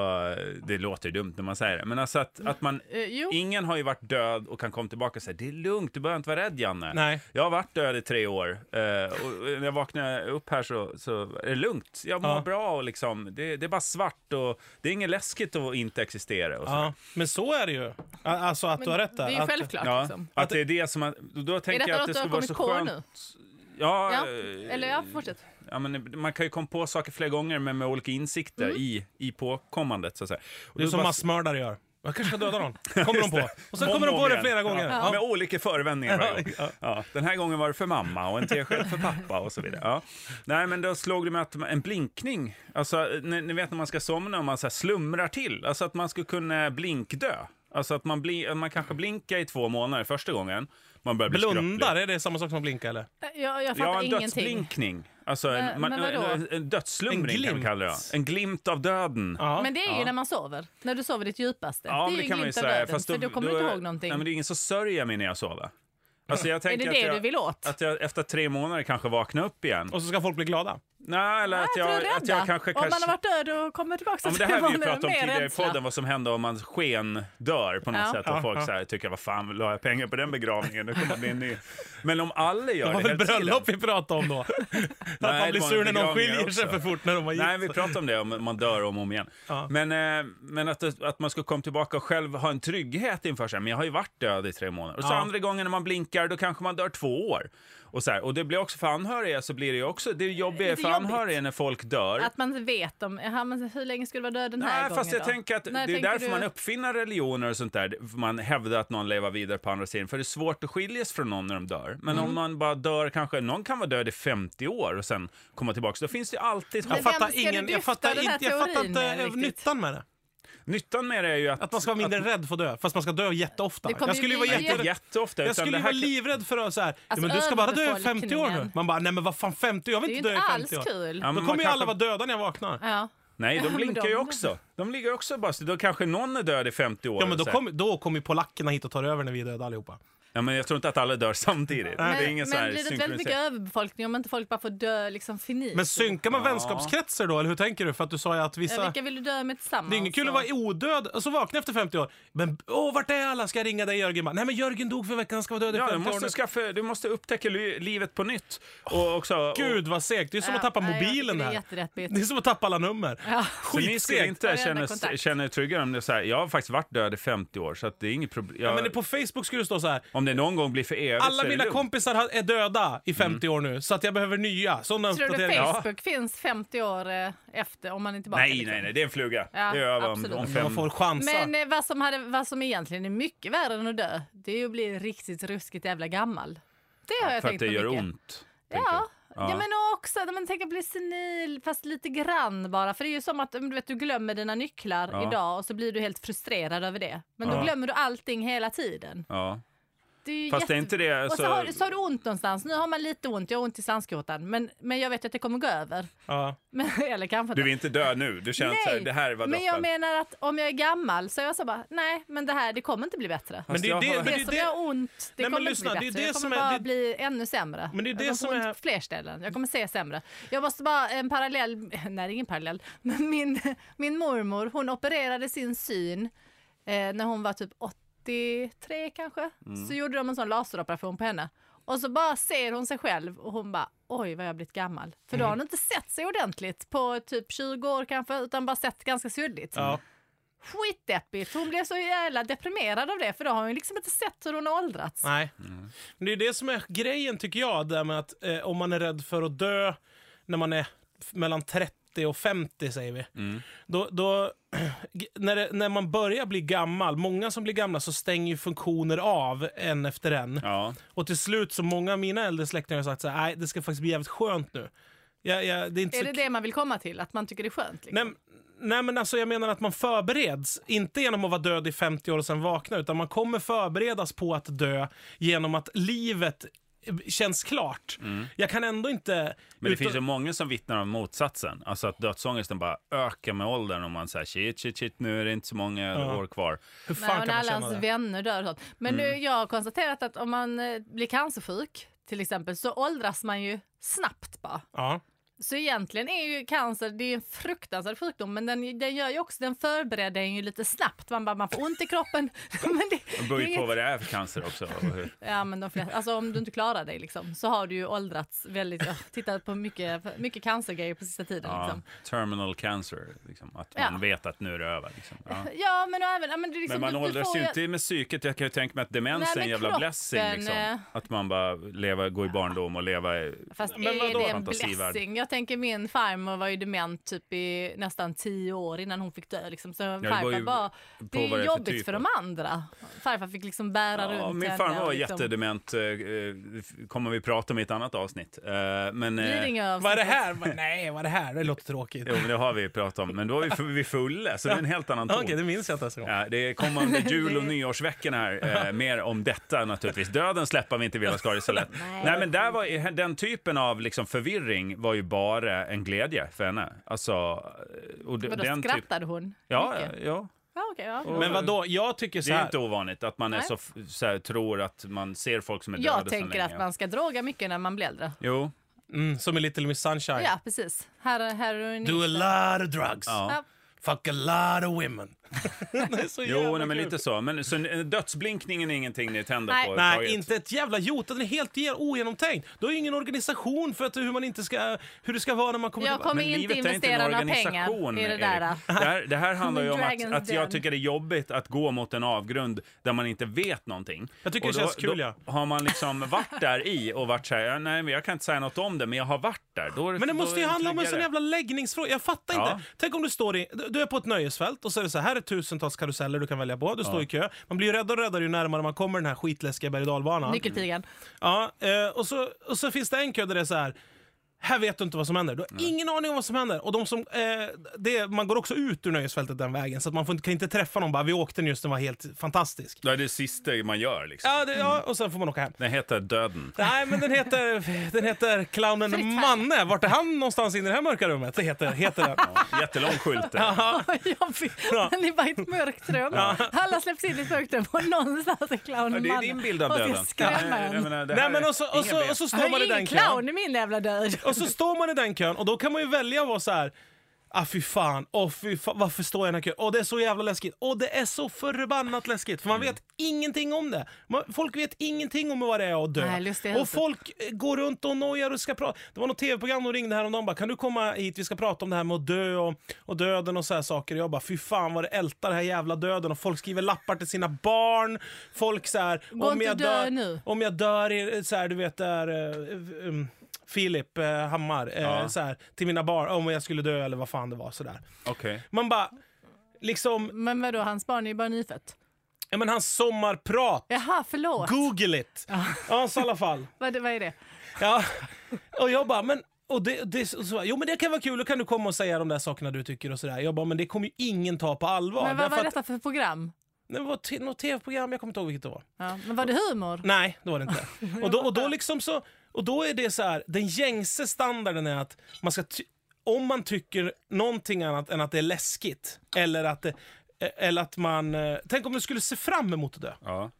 Speaker 2: det låter ju dumt när man säger det, men alltså att, att man...
Speaker 3: Eh, jo,
Speaker 2: Ingen har ju varit död och kan komma tillbaka och säga det är lugnt, du behöver inte vara rädd Janne.
Speaker 1: Nej.
Speaker 2: Jag har varit död i tre år eh, och och när jag vaknar upp här så, så är det lugnt. Jag mår
Speaker 1: Ja.
Speaker 2: bra och liksom, det, det är bara svart och det är inget läskigt att inte existera. Och så.
Speaker 1: Ja, men så är det ju. A- Alltså att du har rätt där.
Speaker 3: det är ju
Speaker 1: Att-
Speaker 3: självklart.
Speaker 2: Ja,
Speaker 3: liksom.
Speaker 2: att det är det som... Att, då tänker
Speaker 3: detta
Speaker 2: jag att
Speaker 3: något
Speaker 2: det
Speaker 3: du har
Speaker 2: skulle vara
Speaker 3: kommit
Speaker 2: så
Speaker 3: på
Speaker 2: skönt.
Speaker 3: nu?
Speaker 2: Ja,
Speaker 3: Ja,
Speaker 2: eh,
Speaker 3: eller ja, fortsätt.
Speaker 2: Ja, men man kan ju komma på saker flera gånger men med olika insikter
Speaker 3: Mm.
Speaker 2: i, i påkommandet. Så att säga. Och
Speaker 1: Det är
Speaker 2: då
Speaker 1: som
Speaker 2: bara-
Speaker 1: massmördare gör. Jag kanske ska döda någon. Kommer de på. Och sen
Speaker 2: Om
Speaker 1: kommer de på
Speaker 2: och
Speaker 1: det
Speaker 2: igen.
Speaker 1: flera gånger.
Speaker 2: Ja. Med
Speaker 1: Ja.
Speaker 2: olika förevändningar varje gång. ja. Den här gången var det för mamma och en tesked för pappa och så vidare. Ja. Nej, men då slog det mig att en blinkning, alltså ni, ni vet när man ska somna och man så här slumrar till, alltså att man skulle kunna blinkdö. Alltså att man, bli, man kanske blinkar i två månader första gången. Man börjar bli skröplig.
Speaker 1: Blundar, är det samma sak som att blinka eller?
Speaker 3: Eh, Jag, jag fattar
Speaker 2: Ja, en
Speaker 3: ingenting.
Speaker 2: dödsblinkning. Alltså en,
Speaker 3: Men-
Speaker 2: man,
Speaker 3: men vadå?
Speaker 2: en, en dödslumring
Speaker 1: En
Speaker 2: kan vi
Speaker 1: glimt.
Speaker 2: kalla det. En glimt av döden.
Speaker 1: Ja.
Speaker 3: Men det är ju
Speaker 2: Ja.
Speaker 3: när man sover. När du sover ditt djupaste.
Speaker 2: Ja,
Speaker 3: det är
Speaker 2: men
Speaker 3: ju
Speaker 2: det kan man ju
Speaker 3: glimt av
Speaker 2: säga.
Speaker 3: döden.
Speaker 2: Fast
Speaker 3: för då kommer du inte ihåg någonting.
Speaker 2: Nej, men det är ingen som sörjer mig när jag sover. Alltså, jag
Speaker 3: är
Speaker 2: tänker
Speaker 3: det
Speaker 2: att
Speaker 3: det
Speaker 2: jag,
Speaker 3: du vill åt?
Speaker 2: Att jag efter tre månader kanske vaknar upp igen.
Speaker 1: Och så ska folk bli glada.
Speaker 2: Nej, eller att
Speaker 3: Nej, för
Speaker 2: jag, att jag
Speaker 3: rädda.
Speaker 2: kanske...
Speaker 3: Om man
Speaker 2: kanske
Speaker 3: har varit död och kommer tillbaka
Speaker 2: Ja, men det
Speaker 3: [laughs]
Speaker 2: här har vi ju pratat om tidigare i podden,
Speaker 3: Var...
Speaker 2: vad som händer om man sken dör på något
Speaker 3: Ja.
Speaker 2: sätt och
Speaker 1: Ja,
Speaker 2: folk
Speaker 1: ja.
Speaker 2: Så här, tycker vad fan la jag pengar på den begravningen, nu kommer det bli en
Speaker 3: [laughs]
Speaker 2: ny. Men om alla
Speaker 1: Det var
Speaker 2: gör det,
Speaker 1: väl
Speaker 2: hela tiden-
Speaker 1: bröllop vi pratade
Speaker 2: [laughs]
Speaker 1: om då? Att man
Speaker 2: det
Speaker 1: blir
Speaker 2: var
Speaker 1: sur
Speaker 2: en
Speaker 1: när någon
Speaker 2: begravning
Speaker 1: skiljer sig
Speaker 2: också.
Speaker 1: för fort när de har gift
Speaker 2: Nej, vi
Speaker 1: sig.
Speaker 2: pratade om det, om man dör om och om igen.
Speaker 1: Ja.
Speaker 2: Men, eh, men att, att man skulle komma tillbaka och själv ha en trygghet inför sig. Men jag har ju varit död i tre månader. Och så
Speaker 1: Ja.
Speaker 2: andra gången när man blinkar, då kanske man dör två år. Och, så här, och det blir också för anhöriga, så blir det ju också, det är jobbigt
Speaker 3: Lite
Speaker 2: för
Speaker 3: jobbigt.
Speaker 2: anhöriga när folk dör.
Speaker 3: Att man inte vet om, jaha, men hur länge skulle du vara död den här
Speaker 2: Nej,
Speaker 3: gången
Speaker 2: fast jag
Speaker 3: då?
Speaker 2: tänker att
Speaker 3: När
Speaker 2: det är
Speaker 3: tänker
Speaker 2: därför
Speaker 3: du-
Speaker 2: man uppfinner religioner och sånt där. Man hävdar att någon lever vidare på andra sidan. För det är svårt att skiljas från någon när de dör. Men
Speaker 1: Mm.
Speaker 2: om man bara dör kanske, någon kan vara död i 50 år och sen komma tillbaka. Så då finns det ju alltid
Speaker 3: Men
Speaker 1: Jag
Speaker 2: hopp.
Speaker 3: vem
Speaker 1: fattar,
Speaker 3: ska du
Speaker 1: ingen, jag
Speaker 3: dyfta
Speaker 1: fattar,
Speaker 3: den här
Speaker 1: inte, jag fattar
Speaker 3: teorin
Speaker 1: inte
Speaker 3: med
Speaker 1: eh,
Speaker 3: riktigt?
Speaker 1: nyttan med det.
Speaker 2: Nyttan med det är ju att...
Speaker 1: Att man ska vara mindre rädd för att dö, fast man ska dö jätteofta.
Speaker 3: Det kommer
Speaker 1: Jag skulle ju
Speaker 3: ju
Speaker 1: vara
Speaker 3: bli-
Speaker 2: Inte
Speaker 1: jätterädd.
Speaker 2: jätteofta.
Speaker 1: Jag
Speaker 2: utan
Speaker 1: skulle
Speaker 2: det
Speaker 1: ju
Speaker 2: här
Speaker 1: vara
Speaker 2: kan-
Speaker 1: livrädd för att så här, ja,
Speaker 3: Alltså,
Speaker 1: men du ska bara dö i 50 år nu.
Speaker 3: överbefolkningen.
Speaker 1: Man bara, nej men vad fan 50 jag vill
Speaker 3: Det är ju
Speaker 1: inte dö
Speaker 3: inte
Speaker 1: i 50
Speaker 3: alls
Speaker 1: år.
Speaker 3: kul.
Speaker 2: Ja, men
Speaker 1: Då
Speaker 2: man
Speaker 1: kommer ju alla
Speaker 2: kanske-
Speaker 1: vara döda när jag vaknar.
Speaker 3: Ja.
Speaker 2: Nej, de
Speaker 3: men
Speaker 2: blinkar
Speaker 3: de-
Speaker 2: ju också. De ligger ju också bara... så Då kanske någon är död i 50 år.
Speaker 1: Ja, men då
Speaker 2: och så här.
Speaker 1: kommer då kommer ju polackerna hit och tar över när vi är döda allihopa.
Speaker 2: ja, men jag tror inte att alla dör samtidigt.
Speaker 1: Nej.
Speaker 2: det är ingen
Speaker 3: men
Speaker 2: så här
Speaker 3: blir det inte väldigt mycket
Speaker 2: synkronisering.
Speaker 3: överbefolkning om inte folk bara får dö liksom finit?
Speaker 1: Men synkar man
Speaker 2: Ja.
Speaker 1: vänskapskretsar då, eller hur tänker du? För att du sa ju att
Speaker 3: Eh,
Speaker 2: Alltså-
Speaker 1: vissa...
Speaker 3: Vilka vill du dö med tillsammans?
Speaker 1: Det är inget kul att
Speaker 3: Och-
Speaker 1: vara odöd och så vakna efter 50 år. Men åh, vart är alla? Ska jag ringa dig Jörgen? Bara, Nej men Jörgen dog för veckan, han ska vara död i
Speaker 2: Ja, du
Speaker 1: 50 år
Speaker 2: måste,
Speaker 1: nu.
Speaker 2: skaffa, du måste upptäcka li- livet på nytt. Och också,
Speaker 1: Gud vad segt, det är som att
Speaker 3: Ja,
Speaker 1: tappa
Speaker 3: nej, jag
Speaker 1: mobilen
Speaker 3: tycker Det är
Speaker 1: här.
Speaker 3: jätterättbigt.
Speaker 1: Det är som att tappa alla nummer.
Speaker 3: Ja.
Speaker 2: Så ni skulle
Speaker 1: Skitsegt.
Speaker 2: inte
Speaker 3: Varenda
Speaker 2: känna,
Speaker 3: kontakt.
Speaker 2: känna er tryggare om det är så här, jag har faktiskt varit död i 50 år så att det är inget problem.
Speaker 1: Ja,
Speaker 2: Jag,
Speaker 1: men det- på Facebook skulle det stå så här.
Speaker 2: om det någon gång blir för evigt
Speaker 1: Alla
Speaker 2: så är det
Speaker 1: mina
Speaker 2: lugnt.
Speaker 1: kompisar har- är döda i 50 år nu, så att jag behöver nya. Sådana
Speaker 3: Tror du
Speaker 1: uppdateringar. Ja.
Speaker 3: Facebook finns 50 år eh, efter om man är tillbaka?
Speaker 2: Nej,
Speaker 3: liksom?
Speaker 2: nej, Alltså- nej, det är en fluga.
Speaker 3: Ja,
Speaker 2: det är över om,
Speaker 3: absolut.
Speaker 2: om
Speaker 1: Man
Speaker 2: fem
Speaker 1: får chansa.
Speaker 3: Men eh, vad som, hade, vad som egentligen är mycket värre än att dö, det är ju att bli riktigt ruskigt jävla gammal. Det har jag
Speaker 2: För att
Speaker 3: tänkt
Speaker 2: det
Speaker 3: på
Speaker 2: gör
Speaker 3: mycket.
Speaker 2: ont. tänker jag.
Speaker 3: Ja. Ja. men också när man tänker bli senil, fast lite grann bara. För det är ju som att mm, du, vet, du glömmer dina nycklar
Speaker 2: Ja.
Speaker 3: idag och så blir du helt frustrerad över det. Men då
Speaker 2: Ja.
Speaker 3: glömmer du allting hela tiden.
Speaker 2: Ja.
Speaker 3: Det är ju
Speaker 2: Fast det är
Speaker 3: jätte-
Speaker 2: inte det...
Speaker 1: Alltså,
Speaker 2: alltså,
Speaker 3: Och så
Speaker 2: så-
Speaker 3: har, så har du ont någonstans. Nu har man lite ont, jag har ont i svanskotan. Men, men jag vet att det kommer gå över. [laughs]
Speaker 1: Ja.
Speaker 3: Men, eller kanske
Speaker 2: Du
Speaker 3: inte.
Speaker 2: vill inte dö nu. Du känner så här, det här var
Speaker 3: men jag
Speaker 2: droppen.
Speaker 3: menar att om jag är gammal så är jag så bara, nej men det här det kommer inte bli bättre.
Speaker 1: Men det är
Speaker 2: jag
Speaker 1: ju
Speaker 2: har-
Speaker 1: det, men det, är
Speaker 3: Det,
Speaker 1: ju
Speaker 3: som gör
Speaker 1: det,
Speaker 3: ont, det
Speaker 1: men
Speaker 3: kommer
Speaker 1: lyssna,
Speaker 3: inte
Speaker 1: det är
Speaker 3: bli bättre.
Speaker 1: det
Speaker 3: jag
Speaker 1: som
Speaker 3: kommer
Speaker 1: är-
Speaker 3: bara
Speaker 1: det-
Speaker 3: bli ännu sämre.
Speaker 1: Men det är det
Speaker 3: jag kommer
Speaker 1: som
Speaker 3: få ont
Speaker 1: är-
Speaker 3: på fler ställen. Jag kommer se sämre. Jag måste bara, en parallell, [laughs] nej det är ingen parallell, men min, [laughs] min mormor hon opererade sin syn eh, när hon var typ 83 kanske.
Speaker 1: Mm.
Speaker 3: Så gjorde de en sån laseroperation på henne. Och så bara ser hon sig själv och hon bara oj vad jag har blivit gammal. För
Speaker 1: Mm.
Speaker 3: då har hon inte sett sig ordentligt på typ 20 år kanske utan bara sett ganska suddigt
Speaker 1: ja.
Speaker 3: skitdeppigt. Hon blev så jävla deprimerad av det för då har hon ju liksom inte sett hur hon har åldrats.
Speaker 1: Nej. Men det är det som är grejen, tycker jag, där med att eh, om man är rädd för att dö när man är f- mellan 30 40 och 50 säger vi. Då, då, [clears throat] när, det, när man börjar bli gammal, många som blir gamla, så stänger ju funktioner av en efter en.
Speaker 2: Ja.
Speaker 1: Och till slut, så många av mina äldre släktingar har sagt så här, nej det ska faktiskt bli jävligt skönt nu. Jag, jag, det är inte
Speaker 3: Är
Speaker 1: så
Speaker 3: det det man vill komma till? Att man tycker det är skönt? Liksom?
Speaker 1: Nej, men- nej, men alltså jag menar att man förbereds, inte genom att vara död i 50 år och sen vakna, utan man kommer förberedas på att dö genom att livet eh, känns klart. Jag kan ändå inte...
Speaker 2: Mm. Men det
Speaker 1: utan-
Speaker 2: finns ju många som vittnar om motsatsen. Alltså att dödsångesten bara ökar med åldern om man säger shit, shit, shit, nu är det inte så många år kvar.
Speaker 1: Hur
Speaker 3: Nej,
Speaker 1: fan kan
Speaker 3: och när
Speaker 1: man
Speaker 3: alla
Speaker 1: känna
Speaker 3: hans
Speaker 1: det? Mm.
Speaker 3: vänner dör och sånt. Men nu, jag har konstaterat att om man eh, blir cancersjuk till exempel så åldras man ju snabbt bara.
Speaker 1: Ja.
Speaker 3: Så egentligen är ju cancer det är ju en fruktansvärd sjukdom men den, den gör ju också, den förbereder en ju lite snabbt. Man, bara, man får ont i kroppen. [laughs] men det,
Speaker 2: Det
Speaker 3: det
Speaker 2: beror
Speaker 3: är
Speaker 2: ju på
Speaker 3: inget-
Speaker 2: vad det är för cancer också. Och hur.
Speaker 3: Ja, men de flesta, alltså om du inte klarar dig liksom, så har du ju åldrats väldigt. Jag tittar på mycket, mycket cancergrejer på sista tiden.
Speaker 2: Ja,
Speaker 3: Liksom.
Speaker 2: terminal cancer, liksom, att
Speaker 3: Ja.
Speaker 2: man vet att nu är det över. Liksom.
Speaker 3: [laughs]
Speaker 2: Ja.
Speaker 3: Ja, men, och även, ja, men, det är liksom,
Speaker 2: Men man
Speaker 3: du- du
Speaker 2: åldras
Speaker 3: får
Speaker 2: ju inte med psyket. Jag kan ju tänka mig att demens
Speaker 3: Nej,
Speaker 2: är en
Speaker 3: men
Speaker 2: jävla
Speaker 3: kroppen,
Speaker 2: blessing. Liksom.
Speaker 3: eh.
Speaker 2: Att man bara leva, gå i barndom och leva i...
Speaker 3: Fast
Speaker 1: Men
Speaker 3: är
Speaker 1: vadå?
Speaker 3: det en
Speaker 2: Fantasivärld.
Speaker 3: blessing? Jag tänker min farmor var ju dement typ i nästan tio år innan hon fick dö. Liksom. Så
Speaker 2: det
Speaker 3: farfar
Speaker 2: var ju
Speaker 3: var, det är
Speaker 2: vad det är för
Speaker 3: ju jobbigt
Speaker 2: typ
Speaker 3: för
Speaker 2: av-
Speaker 3: de andra. Farfar fick liksom bära
Speaker 2: Ja,
Speaker 3: runt
Speaker 2: min
Speaker 3: henne
Speaker 2: farmor
Speaker 3: och
Speaker 2: var
Speaker 3: liksom,
Speaker 2: jättedement. eh, eh, f- kommer vi prata om i ett annat avsnitt. Eh, men, eh,
Speaker 3: Lidingö-
Speaker 1: Vad är det här? Vad- Nej, vad är det här? Det låter tråkigt.
Speaker 2: Jo, men det har vi pratat om. Men då var vi, f- vi fulla, så det är en helt [laughs] annan ton.
Speaker 1: [laughs] Okej, det minns jag inte ens en gång.
Speaker 2: Ja, det kommer
Speaker 3: [laughs]
Speaker 2: under jul och nyårsveckan här. Eh, mer om detta naturligtvis. Döden släpper vi inte Villa Skaris så lätt. Nej.
Speaker 3: Nej.
Speaker 2: men där var, den typen av liksom förvirring var ju bara en glädje för henne. Alltså, och d-
Speaker 3: Vadå,
Speaker 2: den typ-
Speaker 3: skrattade hon?
Speaker 2: Ja,
Speaker 3: Mycket?
Speaker 2: ja.
Speaker 3: ja, okej, ja.
Speaker 2: Och-
Speaker 1: Men vadå, jag tycker så
Speaker 2: Det är
Speaker 1: här.
Speaker 2: inte ovanligt att man är
Speaker 3: Nej.
Speaker 2: så, f- så här, tror att man ser folk som är döda
Speaker 3: Jag
Speaker 2: så
Speaker 3: tänker
Speaker 2: länge.
Speaker 3: att man ska droga mycket när man blir äldre.
Speaker 2: Jo,
Speaker 1: Mm, som i Little Miss Sunshine.
Speaker 3: Ja, precis. Här, heroin.
Speaker 1: Do a lot of drugs.
Speaker 2: ja.
Speaker 3: Ja.
Speaker 1: Fuck a lot of women. [laughs] det är så
Speaker 2: jo
Speaker 1: jävla
Speaker 2: nej, men
Speaker 1: kul.
Speaker 2: lite så. Men, så eh, dödsblinkningen är ingenting ni tänder
Speaker 3: Nej.
Speaker 2: på?
Speaker 1: Nej,
Speaker 2: överhuvudtaget?
Speaker 1: inte ett jävla jota. Den är helt ge- ogenomtänkt. Du har ju ingen organisation för att, hur, man inte ska, hur det ska vara när man kommer
Speaker 3: Jag
Speaker 1: tillbaka.
Speaker 3: kommer
Speaker 2: Men
Speaker 3: inte
Speaker 2: livet är inte
Speaker 3: investera
Speaker 2: en
Speaker 3: några pengar
Speaker 2: organisation,
Speaker 3: i det
Speaker 2: Erik.
Speaker 3: där.
Speaker 2: Det här, det
Speaker 3: [laughs]
Speaker 2: här handlar ju om att,
Speaker 3: Dragon's
Speaker 2: att jag
Speaker 3: Den.
Speaker 2: tycker det är jobbigt att gå mot en avgrund där man inte vet någonting.
Speaker 1: Jag tycker
Speaker 2: Och
Speaker 1: det känns kul, ja.
Speaker 2: Då har man
Speaker 1: [laughs]
Speaker 2: liksom varit där i och varit så här, "Ja, nej men jag kan inte säga något om det, men jag har varit där. Då,
Speaker 1: Men det måste ju handla om en sån
Speaker 2: tryggare.
Speaker 1: jävla läggningsfråga. Jag fattar
Speaker 2: Ja.
Speaker 1: inte. Tänk om du står i, du- du är på ett nöjesfält och så är det så här, här är tusentals karuseller du kan välja på. Du står i kö. Man blir ju räddare och räddare ju närmare man kommer den här skitläskiga berg och dalbanan.
Speaker 3: Nyckeltigern.
Speaker 1: Ja, eh, och, så, och så finns det en kö där det är så här. Här vet du inte vad som händer. Du har ingen aning om vad som händer. Och de som, eh, det, man går också ut ur nöjesfältet den vägen, så att man får, inte- kan inte träffa någon. Bara, vi åkte nyss, den var helt fantastisk.
Speaker 2: Det är det sista man gör liksom.
Speaker 1: Ja, det, ja, och sen får man åka hem.
Speaker 2: Den heter Döden.
Speaker 1: Nej, men den heter, den heter
Speaker 3: Fritt
Speaker 1: Clownen
Speaker 3: fall.
Speaker 1: Manne. Vart är han någonstans in i det här mörka rummet? Det heter, heter den. [laughs]
Speaker 2: Jättelång skylt där.
Speaker 3: [laughs] Jag fick, men [laughs] det är bara ett mörkt rum. Alla släpps in i ett mörkt rum och någonstans är
Speaker 2: Ja,
Speaker 3: clownen
Speaker 2: det är
Speaker 3: mannen.
Speaker 2: din bild av
Speaker 3: Och ska
Speaker 2: döden.
Speaker 3: skrämma
Speaker 2: Nej, jag
Speaker 3: en.
Speaker 2: menar, det här
Speaker 1: Nej, men
Speaker 2: är
Speaker 1: och så, och,
Speaker 2: inga
Speaker 1: så,
Speaker 2: ben.
Speaker 1: och så står
Speaker 3: Han
Speaker 1: man i
Speaker 3: är
Speaker 1: den
Speaker 3: ingen
Speaker 1: kön.
Speaker 3: clown i min jävla död.
Speaker 1: Och så står man i den kön och då kan man ju välja att vara så här. Ah fy fan, åh fy fan, varför står jag i den här kön? Åh det är så jävla läskigt, åh det är så förbannat läskigt. För man vet ingenting om det. Man, folk vet ingenting om vad det är att dö.
Speaker 3: Nej, lustiga
Speaker 1: och
Speaker 3: huset.
Speaker 1: folk eh, går runt och nojar och ska prata. Det var något tv-program de ringde häromdagen och bara, kan du komma hit, vi ska prata om det här med att dö och, och döden och så här saker. Och jag bara, fy fan vad det ältar den här jävla döden. Och folk skriver lappar till sina barn. Folk så här,
Speaker 3: Gå
Speaker 1: om
Speaker 3: inte
Speaker 1: jag
Speaker 3: och dö
Speaker 1: dör,
Speaker 3: nu.
Speaker 1: om jag dör i, så här, du vet där, eh, um, Filip eh, Hammar, eh,
Speaker 2: Ja.
Speaker 1: så här, till mina barn, om jag skulle dö eller vad fan det var sådär.
Speaker 2: Okej.
Speaker 1: Man bara, liksom,
Speaker 3: Men vadå, hans barn är ju bara nyfött.
Speaker 1: ja men hans sommarprat,
Speaker 3: Jaha, förlåt.
Speaker 1: google it! Ja, så i alla fall.
Speaker 3: Vad, vad är det?
Speaker 1: Ja. Och jag bara, men och det, det, och så, jo men det kan vara kul, då kan du komma och säga de där sakerna du tycker och sådär. Jag bara, men det kommer ju ingen ta på allvar.
Speaker 3: Men vad
Speaker 1: därför
Speaker 3: var
Speaker 1: att-
Speaker 3: detta för program?
Speaker 1: Nej, Det var t- något tv-program, jag kommer inte ihåg vilket det var.
Speaker 3: Ja, men var det humor?
Speaker 1: Nej, det var det inte. Och då, och då liksom så, och då är det så här, den gängse standarden är att man ska ty- om man tycker någonting annat än att det är läskigt, eller att, det, e, eller att man... eh, Tänk om du skulle se fram emot att dö.
Speaker 2: Ja.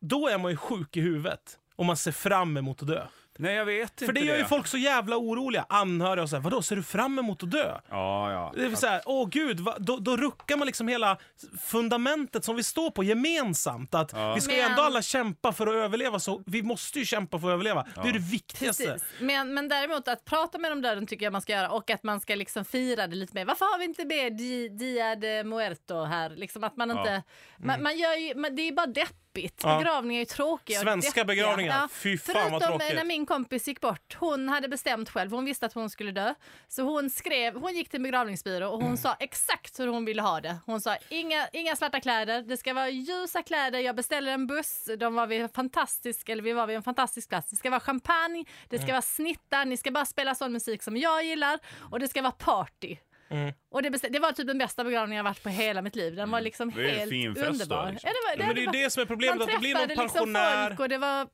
Speaker 1: Då är man ju sjuk i huvudet. Om man ser fram emot att dö.
Speaker 2: Nej, jag vet inte
Speaker 1: För det gör ju folk så jävla oroliga. Anhöriga och så här, vadå, ser du fram emot att dö?
Speaker 2: Ja, ja.
Speaker 1: Det är så här, åh gud, va, då, då ruckar man liksom hela fundamentet som vi står på gemensamt. Att Vi ska ju
Speaker 3: Men-
Speaker 1: ändå alla kämpa för att överleva, så vi måste ju kämpa för att överleva. Det är det viktigaste.
Speaker 3: Precis. Men, men däremot att prata med om döden tycker jag man ska göra och att man ska liksom fira det lite mer. Varför har vi inte med Di- Dia de Muerto här? Liksom att man inte... Man, man gör ju, man, det är bara deppigt.
Speaker 1: Ja.
Speaker 3: Begravningar är ju tråkiga och
Speaker 1: Svenska
Speaker 3: deppiga.
Speaker 1: begravningar. Fy fan, vad
Speaker 3: Förutom eh,
Speaker 1: tråkigt.
Speaker 3: när min min kompis gick bort, hon hade bestämt själv, hon visste att hon skulle dö. Så hon skrev, hon gick till en begravningsbyrå och hon sa exakt hur hon ville ha det. Hon sa inga, inga svarta kläder, det ska vara ljusa kläder, jag beställer en buss, de var vid en fantastisk, eller vi var vid en fantastisk plats. Det ska vara champagne, det
Speaker 1: Mm.
Speaker 3: ska vara snittar, ni ska bara spela sån musik som jag gillar och det ska vara party.
Speaker 1: Mm.
Speaker 3: Och det, bestä- det var typ den bästa begravningen jag varit på hela mitt liv. Den var liksom
Speaker 2: Mm. Det är en
Speaker 3: helt
Speaker 2: fin fest då,
Speaker 3: underbar.
Speaker 2: liksom.
Speaker 3: Ja, det var, det,
Speaker 1: Men det
Speaker 3: det
Speaker 1: är
Speaker 3: var-
Speaker 1: ju det som är problemet, att det blir någon pensionär...
Speaker 3: liksom folk och det var, ja,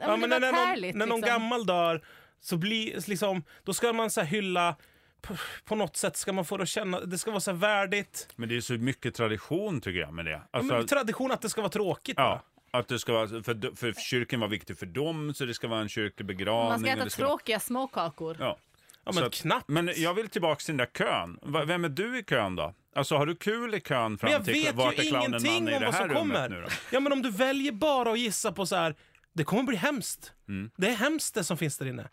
Speaker 1: Ja, men
Speaker 3: men det var
Speaker 1: när,
Speaker 3: ett
Speaker 1: någon,
Speaker 3: härligt.
Speaker 1: när någon
Speaker 3: liksom.
Speaker 1: gammal dör, så blir, liksom, då ska man så här hylla... På, på något sätt ska man få det att känna... Det ska vara så här värdigt.
Speaker 2: Men det är så mycket tradition tycker jag med det. Alltså,
Speaker 1: Men tradition att det ska vara tråkigt.
Speaker 2: ja,
Speaker 1: va?
Speaker 2: att det ska vara, för, för kyrkan var viktig för dem, så det ska vara en kyrkobegravning.
Speaker 3: Man ska
Speaker 2: och
Speaker 3: äta
Speaker 2: det vara-
Speaker 3: tråkiga småkakor.
Speaker 2: Ja.
Speaker 1: Ja,
Speaker 2: Så
Speaker 1: men
Speaker 2: att-
Speaker 1: knappt.
Speaker 2: Men jag vill tillbaka till den där kön. Va- Vem är du i kön då? Alltså har du kul i kön
Speaker 1: Men
Speaker 2: fram
Speaker 1: jag
Speaker 2: till
Speaker 1: vet
Speaker 2: vart
Speaker 1: ju
Speaker 2: är clownen man
Speaker 1: ingenting
Speaker 2: i
Speaker 1: om
Speaker 2: det
Speaker 1: vad
Speaker 2: här
Speaker 1: som
Speaker 2: rummet nu
Speaker 1: kommer.
Speaker 2: då?
Speaker 1: Ja, men om du väljer bara att gissa på så här, det kommer bli hemskt.
Speaker 2: Mm.
Speaker 1: Det är hemskt det som finns där inne.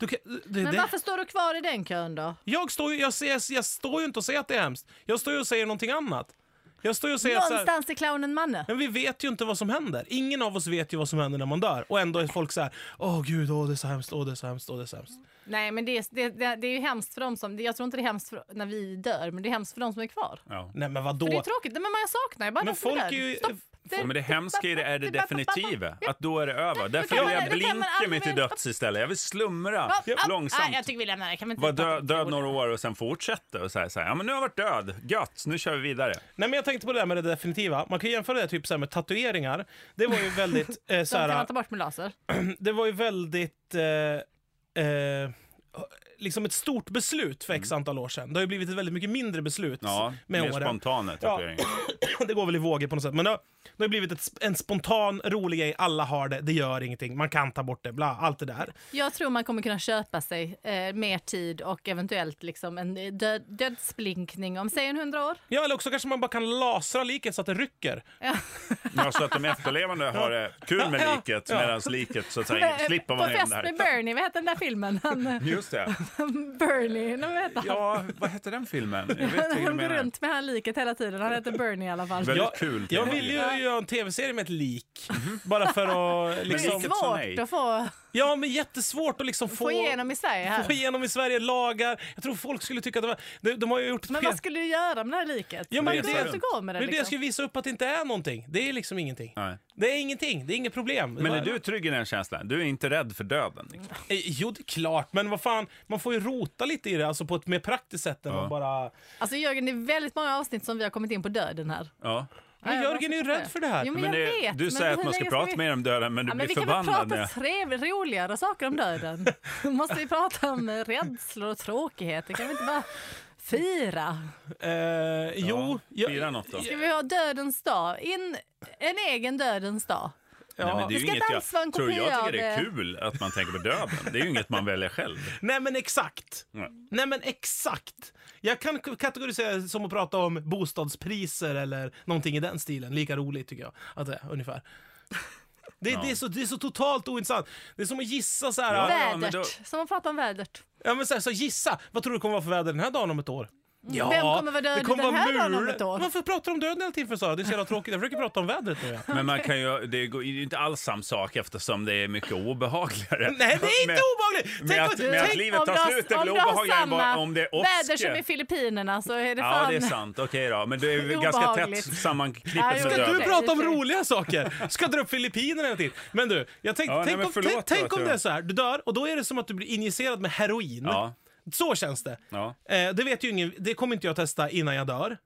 Speaker 1: Du kan, det,
Speaker 3: Men
Speaker 1: det,
Speaker 3: varför står du kvar i den kön då?
Speaker 1: jag, står ju, jag, ser, jag står ju inte och säger att det är hemskt. Jag står ju och säger någonting annat. Jag står ju och säger att så här,
Speaker 3: Någonstans är clownen Manne.
Speaker 1: men vi vet ju inte vad som händer. Ingen av oss vet ju vad som händer när man dör. Och ändå är folk så här, åh gud, åh det är så hemskt, åh det är så hemskt, åh det är så hemskt.
Speaker 3: Nej, men det är, det, det, det är ju hemskt för dem som... Jag tror inte det är hemskt för, när vi dör, men det är hemskt för dem som är kvar.
Speaker 2: Ja.
Speaker 1: Nej men vadå?
Speaker 3: För det är tråkigt. Nej, men jag saknar ju bara
Speaker 1: Men
Speaker 3: de som
Speaker 1: folk
Speaker 3: dör.
Speaker 1: är ju-
Speaker 3: Stopp.
Speaker 2: Ja, men det hemska i det är det definitiva, att då är det över. Därför
Speaker 3: kan
Speaker 2: vill jag
Speaker 3: man- det kan man
Speaker 2: blinka
Speaker 3: aldrig
Speaker 2: mig till
Speaker 3: mer-
Speaker 2: döds istället. Jag vill slumra
Speaker 3: Stopp. Stopp. Nej, jag
Speaker 2: långsamt.
Speaker 3: tycker vi lämnar det. Kan vi inte
Speaker 2: Vara
Speaker 3: prata
Speaker 2: död,
Speaker 3: om
Speaker 2: död
Speaker 3: det?
Speaker 2: några år och sen fortsätta och säga så här, ja men nu har jag varit död, gött, nu kör vi vidare.
Speaker 1: Nej men jag tänkte på det där med det definitiva. Man kan jämföra det typ så här med tatueringar. Det var ju väldigt eh, så
Speaker 3: De kan
Speaker 1: här,
Speaker 3: man ta bort med laser.
Speaker 1: det var ju väldigt... Eh, eh, liksom ett stort beslut för x antal år sedan. Det har ju blivit ett väldigt mycket mindre beslut
Speaker 2: Mm. Ja,
Speaker 1: med
Speaker 2: mer
Speaker 1: åren.
Speaker 2: spontana tatueringar.
Speaker 1: [laughs] Det går väl i vågor på något sätt. Men det har, det har ju blivit ett, sp- en spontan, rolig grej. Alla har det, det gör ingenting. Man kan ta bort det, bla, allt det där.
Speaker 3: Jag tror man kommer kunna köpa sig eh, mer tid och eventuellt liksom en död, dödsblinkning om, säg en hundra år.
Speaker 1: Ja, eller också kanske man bara kan lasra liket så att det rycker.
Speaker 2: Ja, så att de efterlevande har det kul med
Speaker 1: Ja,
Speaker 2: liket,
Speaker 1: ja.
Speaker 2: medan liket så att säga slipper man
Speaker 3: Eh, På fest
Speaker 2: även
Speaker 3: med
Speaker 2: det här.
Speaker 3: Bernie, vad hette den där filmen? Han, eh,
Speaker 2: Just det.
Speaker 3: [laughs] Bernie, nej, vad heter han?
Speaker 2: Ja, vad hette den filmen? Jag vet inte
Speaker 3: Han
Speaker 2: vilken
Speaker 3: går
Speaker 2: menar.
Speaker 3: runt med han liket hela tiden. Han heter Bernie i alla fall.
Speaker 2: Väldigt
Speaker 1: Jag,
Speaker 2: kul. Mhm.
Speaker 1: jag vill ju göra en tv-serie med ett lik. [laughs] Bara för
Speaker 2: [laughs]
Speaker 1: att...
Speaker 3: det är
Speaker 1: Liksom,
Speaker 2: liket sa nej.
Speaker 3: svårt att få,
Speaker 1: ja, men jättesvårt att liksom få,
Speaker 3: få igenom i Sverige
Speaker 1: få
Speaker 3: här.
Speaker 1: igenom i Sverige lagar. Jag tror folk skulle tycka att det var... De, de har ju gjort...
Speaker 3: Men vad skulle du göra med det här liket?
Speaker 1: Ja, men
Speaker 3: du
Speaker 1: det-
Speaker 3: kunde inte gå med det.
Speaker 1: Men det
Speaker 3: Liksom.
Speaker 1: jag ska visa upp att det inte är någonting. Det är liksom ingenting.
Speaker 2: Nej.
Speaker 1: Det är ingenting, det är inget problem.
Speaker 2: Men
Speaker 1: Det
Speaker 2: är
Speaker 1: var-
Speaker 2: du trygg i den känslan? Du är inte rädd för döden? Liksom.
Speaker 1: Eh, Jo, det är klart, men vad fan, man får ju rota lite i det, alltså på ett mer praktiskt sätt än
Speaker 2: Ja.
Speaker 1: att bara...
Speaker 3: Alltså Jörgen, det är väldigt många avsnitt som vi har kommit in på döden här.
Speaker 2: Ja.
Speaker 1: Men
Speaker 3: Ja, jag
Speaker 1: Jörgen är ju
Speaker 3: måste-
Speaker 1: rädd för det här.
Speaker 3: Jo, men,
Speaker 2: Men
Speaker 3: jag
Speaker 2: det-
Speaker 3: vet.
Speaker 2: du
Speaker 3: men
Speaker 2: säger
Speaker 3: hur
Speaker 2: att man ska
Speaker 3: länge
Speaker 2: prata
Speaker 3: vi-
Speaker 2: mer om döden, men du
Speaker 3: Ja, men
Speaker 2: blir
Speaker 3: vi kan väl
Speaker 2: förbannad. när
Speaker 3: prata
Speaker 2: jag-
Speaker 3: trev, roligare saker om döden? Måste vi prata om rädslor och tråkigheter? Kan vi inte bara fira?
Speaker 1: Eh, jo,
Speaker 2: Ja,
Speaker 1: jag-
Speaker 2: fira något då.
Speaker 3: Ska vi ha dödens dag? In, en egen dödens dag?
Speaker 2: Nej, men
Speaker 1: ja.
Speaker 2: det är
Speaker 3: Vi
Speaker 2: ju
Speaker 3: ska
Speaker 2: inget
Speaker 3: dansa en
Speaker 2: jag tror
Speaker 3: kopia
Speaker 2: jag tycker det är
Speaker 3: av-
Speaker 2: kul att man tänker på döden. Det är ju inget man väljer själv.
Speaker 1: Nej men exakt!
Speaker 2: Ja.
Speaker 3: Mm.
Speaker 1: Nej men exakt! Jag kan k- kategorisera det som att prata om bostadspriser eller någonting i den stilen. Lika roligt tycker jag att det är, ungefär. Det,
Speaker 2: Ja.
Speaker 1: det, är så, det är så totalt ointressant. Det är som att gissa så här...
Speaker 2: Ja. men
Speaker 3: vädret,
Speaker 2: då-
Speaker 3: som man pratar om vädret.
Speaker 1: Ja, men så, här, så gissa, vad tror du kommer vara för väder den här dagen om ett år? Ja,
Speaker 3: Vem kommer vara död
Speaker 1: det kommer
Speaker 3: den
Speaker 1: vara
Speaker 3: här dagen om
Speaker 1: mul.
Speaker 3: ett år?
Speaker 1: Varför pratar du om döden hela tiden för Sara? Det är så jävla tråkigt. Jag försöker prata om vädret [laughs] nu. Ja.
Speaker 2: Men man kan ju, det går- det är ju inte alls samma sak eftersom det är mycket obehagligare.
Speaker 1: Nej, det är inte
Speaker 2: Men-
Speaker 1: obehagligt! Tänk
Speaker 2: med att-
Speaker 1: vad-
Speaker 2: med att
Speaker 1: tänk-
Speaker 2: livet
Speaker 3: om
Speaker 2: tar
Speaker 3: du har-
Speaker 2: slut, det är
Speaker 3: om
Speaker 2: väl
Speaker 3: du har
Speaker 2: obehagligare än vad-
Speaker 3: samma
Speaker 2: om det är
Speaker 3: Väder
Speaker 2: åske.
Speaker 3: som i Filippinerna så är det
Speaker 2: Ja,
Speaker 3: fan...
Speaker 2: det är sant. Okej då. Men det är ju ganska tätt
Speaker 3: Obehagligt.
Speaker 2: sammanklippet
Speaker 3: Ja,
Speaker 2: med
Speaker 3: jo,
Speaker 1: Ska du
Speaker 3: Okej,
Speaker 2: döden.
Speaker 1: prata om
Speaker 3: okej.
Speaker 1: roliga saker? Ska dra upp Filippinerna hela tiden? Men du, jag tänkte,
Speaker 2: Ja, nej,
Speaker 1: tänk,
Speaker 2: men
Speaker 1: om,
Speaker 2: förlåt
Speaker 1: tänk,
Speaker 2: då
Speaker 1: tänk
Speaker 2: att
Speaker 1: om
Speaker 2: jag-
Speaker 1: det är så här, du dör och då är det som att du blir injicerad med heroin.
Speaker 2: Ja.
Speaker 1: Så känns det.
Speaker 2: Ja.
Speaker 1: Eh, det vet ju ingen, det kommer inte jag testa innan jag dör.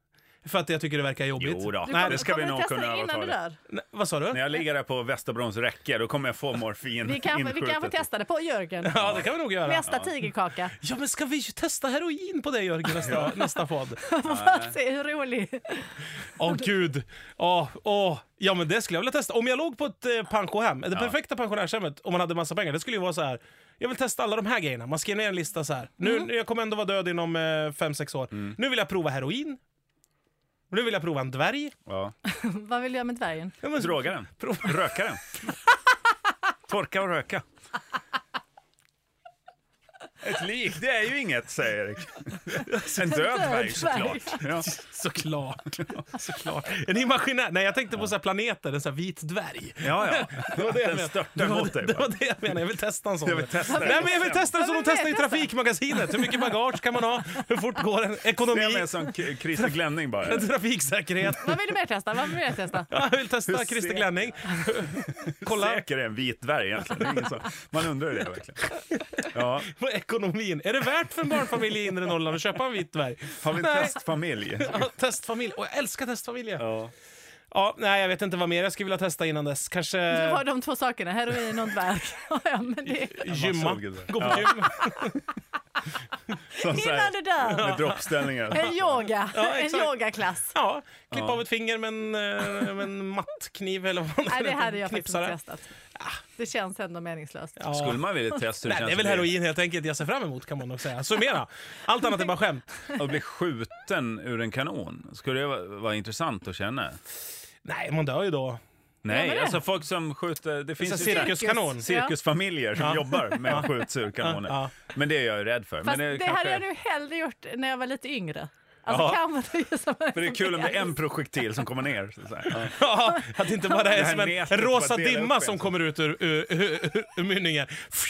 Speaker 1: För att jag tycker det verkar jobbigt.
Speaker 2: Jo då.
Speaker 3: Du
Speaker 2: Nej,
Speaker 3: kommer-
Speaker 2: det ska vi
Speaker 3: kommer du
Speaker 2: nog
Speaker 3: testa
Speaker 2: kunna
Speaker 3: innan du
Speaker 2: övertala.
Speaker 3: dör.
Speaker 1: Nej, vad sa du?
Speaker 2: När jag ligger där på Västerbrons räcke, då kommer jag få morfin
Speaker 3: Vi kan, vi kan få
Speaker 2: inskjutet.
Speaker 3: testa det
Speaker 2: [laughs]
Speaker 3: på Jörgen.
Speaker 1: Ja, det kan vi nog göra.
Speaker 3: Nästa tigerkaka.
Speaker 1: Ja, men ska vi ju testa heroin på dig, Jörgen, nästa, nästa podd?
Speaker 3: Se hur rolig. [laughs]
Speaker 1: Åh, gud. Åh, åh. Ja, men det skulle jag vilja testa. Om jag låg på ett eh, pensionärshem, det perfekta pensionärshemmet, om man hade massa pengar, det skulle ju vara så här. Jag vill testa alla de här grejerna. Man skriver ner en lista så här. Nu, nu- Jag kommer ändå vara död inom 5-6 år. Nu vill jag prova heroin. Nu vill jag prova en dvärg.
Speaker 2: Ja.
Speaker 3: Vad vill du göra med dvärgen?
Speaker 1: Ja, men,
Speaker 2: Droga den.
Speaker 1: Prova.
Speaker 2: Röka den. Torka och röka. Ett lik, det är ju inget, säger Erik. En död dvärg såklart. Ja.
Speaker 1: Såklart. Såklart. En imaginär. Nej, jag tänkte på så här planeter, en så här vit dvärg.
Speaker 2: Ja, ja. Den störtar mot dig.
Speaker 1: Det
Speaker 2: va?
Speaker 1: var det jag menade. Jag vill testa en sån.
Speaker 2: Jag vill testa
Speaker 1: Nej, men jag vill testa den som
Speaker 3: Ja,
Speaker 1: de
Speaker 3: men
Speaker 1: testar i
Speaker 3: testa.
Speaker 1: Trafikmagasinet. Hur mycket bagage kan man ha? Hur fort går den?
Speaker 2: Se mig
Speaker 1: Ekonomi?
Speaker 2: som K- Christer Glenning bara. [laughs]
Speaker 1: Trafiksäkerhet?
Speaker 3: Vad vill du mer testa? Vad vill du mer testa?
Speaker 1: Ja, Jag vill testa
Speaker 2: Hur
Speaker 1: Christer
Speaker 2: ser- [laughs]
Speaker 1: Glenning. Kolla
Speaker 2: Säker är en vit dvärg egentligen. Det är ingen som, man undrar ju det verkligen. Ja,
Speaker 1: på ekonomin. Är det värt för en barnfamilj i inre Norrland att köpa en vit dvärg?
Speaker 2: har vi en
Speaker 1: Nej.
Speaker 2: testfamilj?
Speaker 1: Ja, testfamilj. Och jag älskar testfamiljer. Ja.
Speaker 2: Ja.
Speaker 1: nej, jag vet inte vad mer jag skulle vilja testa innan dess. Kanske
Speaker 2: Eh.
Speaker 3: Det var de två sakerna, heroin och dvärg. [laughs] Ja, men det...
Speaker 1: gymma.
Speaker 2: såg det där.
Speaker 1: Gå på gym.
Speaker 2: Som så här,
Speaker 3: Innan du
Speaker 2: [laughs]
Speaker 3: dör!
Speaker 2: med droppställningar.
Speaker 3: En yoga,
Speaker 1: Ja,
Speaker 3: en
Speaker 1: exakt.
Speaker 3: yogaklass.
Speaker 1: Ja, klippa av ett finger med en, eh, med en mattkniv eller vad
Speaker 3: Nej, det hade jag faktiskt
Speaker 1: Knipsare.
Speaker 3: inte testat. Det känns ändå meningslöst.
Speaker 1: Ja.
Speaker 2: Skulle man vilja testa hur
Speaker 1: Nej,
Speaker 2: det
Speaker 1: det är
Speaker 2: känns
Speaker 1: väl
Speaker 2: att bli-
Speaker 1: heroin helt enkelt jag ser fram emot kan man nog säga. Summera. Allt annat är bara skämt.
Speaker 2: att bli skjuten ur en kanon? Skulle det vara, vara intressant att känna?
Speaker 1: Nej, man dör ju då.
Speaker 2: Nej,
Speaker 3: men det-
Speaker 2: alltså folk som skjuter... Det
Speaker 1: Så
Speaker 2: finns ju cirkus.
Speaker 1: cirkuskanon.
Speaker 3: cirkus.
Speaker 2: cirkusfamiljer som
Speaker 1: Alltså, Ja.
Speaker 2: jobbar med att skjuts ur kanoner.
Speaker 1: Ja.
Speaker 2: Men det är jag ju rädd för.
Speaker 3: Fast
Speaker 2: men
Speaker 3: det,
Speaker 2: är kanske-
Speaker 3: hade jag nu hellre gjort när jag var lite yngre. Alltså
Speaker 2: Ja.
Speaker 3: kan man det som
Speaker 2: Men det är kul om det är en projektil som kommer ner. Så att säga.
Speaker 1: Ja, att det inte bara
Speaker 2: Det
Speaker 1: är
Speaker 2: här
Speaker 1: som en
Speaker 2: nätet
Speaker 1: rosa
Speaker 2: bara delar
Speaker 1: dimma
Speaker 2: upp
Speaker 1: som
Speaker 2: en.
Speaker 1: kommer ut ur, ur, ur, ur, ur mynningen. [laughs]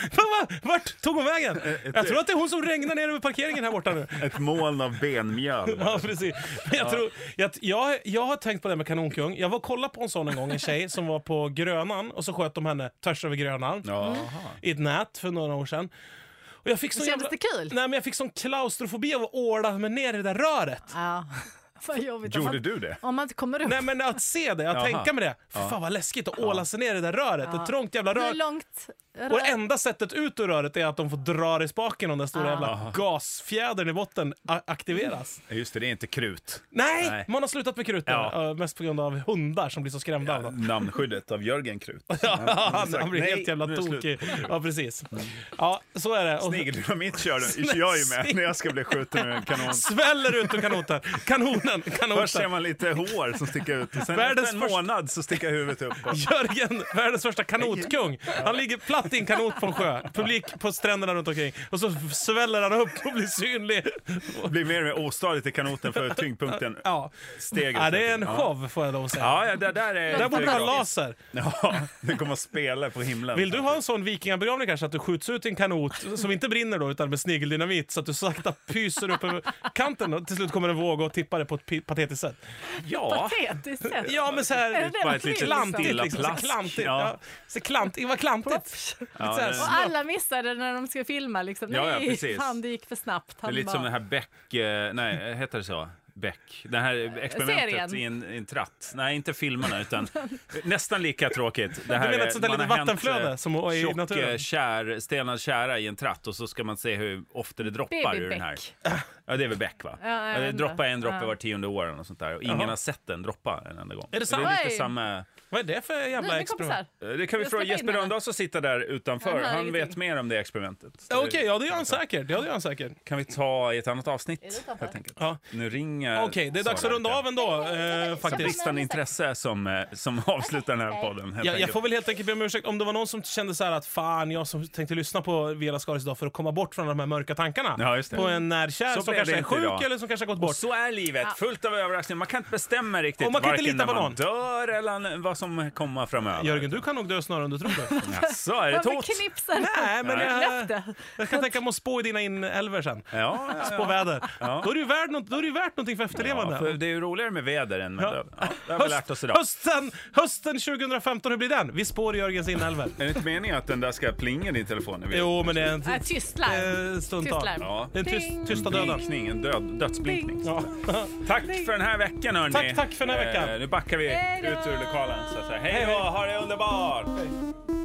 Speaker 1: Mamma, vart tog hon vägen?
Speaker 2: Eh,
Speaker 1: Jag tror att det är hon som regnar ner över parkeringen här borta nu.
Speaker 2: Ett moln av benmjöl.
Speaker 1: Ja, precis. Men jag, tror, jag, jag, jag har tänkt på det här med kanonkung. Jag var och kollade på en sån en
Speaker 2: [laughs]
Speaker 1: gång, en tjej som var på Grönan och så sköt de henne tvärs över Grönan
Speaker 2: Jaha.
Speaker 1: i ett nät för några år sedan. Och jag fick sån
Speaker 3: Kändes
Speaker 1: jävla...
Speaker 3: det kul?
Speaker 1: Nej, men jag fick sån klaustrofobi av att åla mig ner i det där röret.
Speaker 3: Ja. Vad jobbigt.
Speaker 1: Mm.
Speaker 3: Om
Speaker 2: Gjorde
Speaker 3: man,
Speaker 2: du det?
Speaker 3: om man inte kommer upp.
Speaker 1: Nej, men att se det, att
Speaker 2: Jaha.
Speaker 1: tänka med det. Fy fan vad läskigt att åla sig ner i det där röret. Ett trångt jävla
Speaker 3: Hur
Speaker 1: rör.
Speaker 3: långt?
Speaker 1: Och det enda sättet ut ur röret är att de får dra i spaken om den stora
Speaker 3: Ah.
Speaker 1: jävla
Speaker 2: Aha.
Speaker 1: gasfjädern i botten a- aktiveras.
Speaker 2: Just det, det är inte krut.
Speaker 1: Nej,
Speaker 2: Nej.
Speaker 1: man har slutat med kruten.
Speaker 2: Ja.
Speaker 1: eh, Mest på grund av hundar som blir så skrämda av dem.
Speaker 2: Namnskyddet av Jörgen Krut.
Speaker 1: [laughs] Ja, han, han blir
Speaker 2: Nej,
Speaker 1: helt jävla
Speaker 2: nu är det slut.
Speaker 1: tokig. Ja, precis. Ja, så är det. Och
Speaker 2: Snigeldynamit kör
Speaker 1: [laughs]
Speaker 2: du- jag ju med när jag ska bli skjuten ur en kanon.
Speaker 1: sväller ut ur kanoten. Kanonen,
Speaker 2: Först ser
Speaker 1: kanoten.
Speaker 2: man lite hår som sticker ut och sen
Speaker 1: Världens
Speaker 2: efter en
Speaker 1: första-
Speaker 2: månad så sticker huvudet upp. Och...
Speaker 1: Jörgen, världens första kanotkung. Han ligger platt i en kanot på en sjö. Publik på stränderna runt omkring. Och så sväller han upp och blir synlig.
Speaker 2: blir mer och mer ostadigt i kanoten för tyngdpunkten
Speaker 1: Ja,
Speaker 2: steget.
Speaker 1: ja det är en show får jag lov att säga.
Speaker 2: Ja, ja det där är...
Speaker 1: Där borde du ha
Speaker 2: det är gratis.
Speaker 1: laser.
Speaker 2: Ja, det kommer att spela på himlen.
Speaker 1: Vill du ha en sån vikingabegravning kanske? Att du skjuts ut i en kanot som inte brinner då utan med snigeldynamit så att du sakta pyser upp över kanten och till slut kommer en våg och tippar det på ett pi- patetiskt sätt.
Speaker 2: Ja.
Speaker 3: Patetiskt sätt.
Speaker 1: Ja men så
Speaker 3: Är det
Speaker 1: här
Speaker 3: det man
Speaker 2: ett litet
Speaker 3: vill,
Speaker 1: klantigt
Speaker 2: Stilla
Speaker 1: liksom. Så
Speaker 2: plask.
Speaker 1: klantigt.
Speaker 2: Ja.
Speaker 1: Ja. Så klantigt. Vad klantigt.
Speaker 2: Ja,
Speaker 1: så här,
Speaker 2: det-
Speaker 1: så-
Speaker 3: Och alla missade när de skulle filma. Liksom.
Speaker 2: Ja, ja,
Speaker 3: Nej,
Speaker 2: precis.
Speaker 3: fan det gick för snabbt.
Speaker 2: Det är
Speaker 3: Han
Speaker 2: lite som
Speaker 3: bara-
Speaker 2: den här Beck... eh, Nej, heter det så? Beck. Det här experimentet
Speaker 3: serien.
Speaker 2: i en, i en tratt. Nej, inte filmerna, utan nästan lika tråkigt. Det här,
Speaker 1: Du menar ett
Speaker 2: eh,
Speaker 1: sånt där
Speaker 2: man
Speaker 1: litet
Speaker 2: har hänt,
Speaker 1: vattenflöde
Speaker 2: eh,
Speaker 1: som är i
Speaker 2: tjock,
Speaker 1: naturen?
Speaker 2: eh, Kär, stenad kära i en tratt och så ska man se hur ofta det droppar ur den här.
Speaker 3: Babybeck.
Speaker 2: Ja, det är väl Beck, va?
Speaker 3: Ja, jag
Speaker 2: det
Speaker 3: vet inte.
Speaker 2: droppar en droppe
Speaker 3: Ja.
Speaker 2: var tionde år och sånt där. Och ingen
Speaker 1: Jaha.
Speaker 2: har sett den droppa en enda gång.
Speaker 1: Är det sant?
Speaker 2: Det är lite
Speaker 3: Oj.
Speaker 2: samma... Eh,
Speaker 1: Vad är det för
Speaker 3: Nu,
Speaker 1: jävla
Speaker 3: nu kompisar.
Speaker 1: experiment?
Speaker 2: Det kan vi
Speaker 3: Jag
Speaker 2: fråga
Speaker 3: släpper in
Speaker 2: Jesper
Speaker 3: henne.
Speaker 2: Röndahl som sitter där
Speaker 3: Han
Speaker 2: utanför.
Speaker 3: hör
Speaker 2: Han
Speaker 3: ingenting.
Speaker 2: vet mer om det experimentet. Så
Speaker 1: Ja, Okej,
Speaker 2: det
Speaker 1: ja det gör han säkert. Ja, det gör han säkert.
Speaker 2: kan vi ta i ett annat avsnitt.
Speaker 3: utanför?
Speaker 2: Helt enkelt.
Speaker 1: Ja.
Speaker 2: Nu ringer
Speaker 1: Okej, det är dags att
Speaker 2: Sara
Speaker 1: runda
Speaker 2: lite.
Speaker 1: av ändå eh,
Speaker 2: Det är
Speaker 1: faktiskt.
Speaker 2: bristande intresse som, eh,
Speaker 1: [laughs]
Speaker 2: som avslutar den här podden. helt
Speaker 1: Jag, jag
Speaker 2: enkelt.
Speaker 1: får väl helt enkelt be om ursäkt om det var någon som kände så här att fan, jag som tänkte lyssna på Vela Skaris idag för att komma bort från de här mörka tankarna.
Speaker 2: Ja, just det.
Speaker 1: På en närkär
Speaker 2: Så
Speaker 1: som
Speaker 2: blev
Speaker 1: kanske
Speaker 2: det
Speaker 1: är
Speaker 2: inte
Speaker 1: sjuk
Speaker 2: idag.
Speaker 1: eller som kanske har gått bort.
Speaker 2: Så är livet, fullt av överraskningar. Man kan inte bestämma riktigt
Speaker 1: Och man kan inte
Speaker 2: varken
Speaker 1: lita på
Speaker 2: när man
Speaker 1: någon.
Speaker 2: dör eller vad som kommer framöver.
Speaker 1: Jörgen, du kan nog dö snarare än du
Speaker 2: [laughs]
Speaker 1: tror det.
Speaker 2: Jaså, är det ett
Speaker 3: Varför
Speaker 2: hot?
Speaker 3: knipsar du?
Speaker 1: Nej, men jag,
Speaker 3: Löfte.
Speaker 1: jag kan tänka mig att spå i dina inälvor sen. [laughs]
Speaker 2: Ja, ja,
Speaker 1: Spå
Speaker 2: ja.
Speaker 1: väder.
Speaker 2: Ja.
Speaker 1: Då, är det ju värd något, då är det ju värt någonting för efterlevande.
Speaker 2: ja, för det är ju roligare med väder än med
Speaker 1: Ja.
Speaker 2: död. Ja, det har vi lärt oss idag.
Speaker 1: hösten, hösten 2015, hur blir den? Vi spår i Jörgens inälvor.
Speaker 2: Är det inte meningen att den där ska plinga i din telefon?
Speaker 1: Jo, men det är en
Speaker 3: Nej, tyst larm.
Speaker 1: eh, stundtal.
Speaker 3: Tyst larm.
Speaker 2: Ja.
Speaker 1: Det är tyst,
Speaker 3: Ding.
Speaker 1: tysta döden.
Speaker 2: Blinkning, en död, dödsblinkning.
Speaker 1: Ja. [laughs]
Speaker 2: Tack för den här veckan hörni.
Speaker 1: Tack, tack för den här veckan.
Speaker 2: nu backar vi
Speaker 3: Hej då.
Speaker 2: ut ur lokalen så att säga. Hej då, ha det underbart!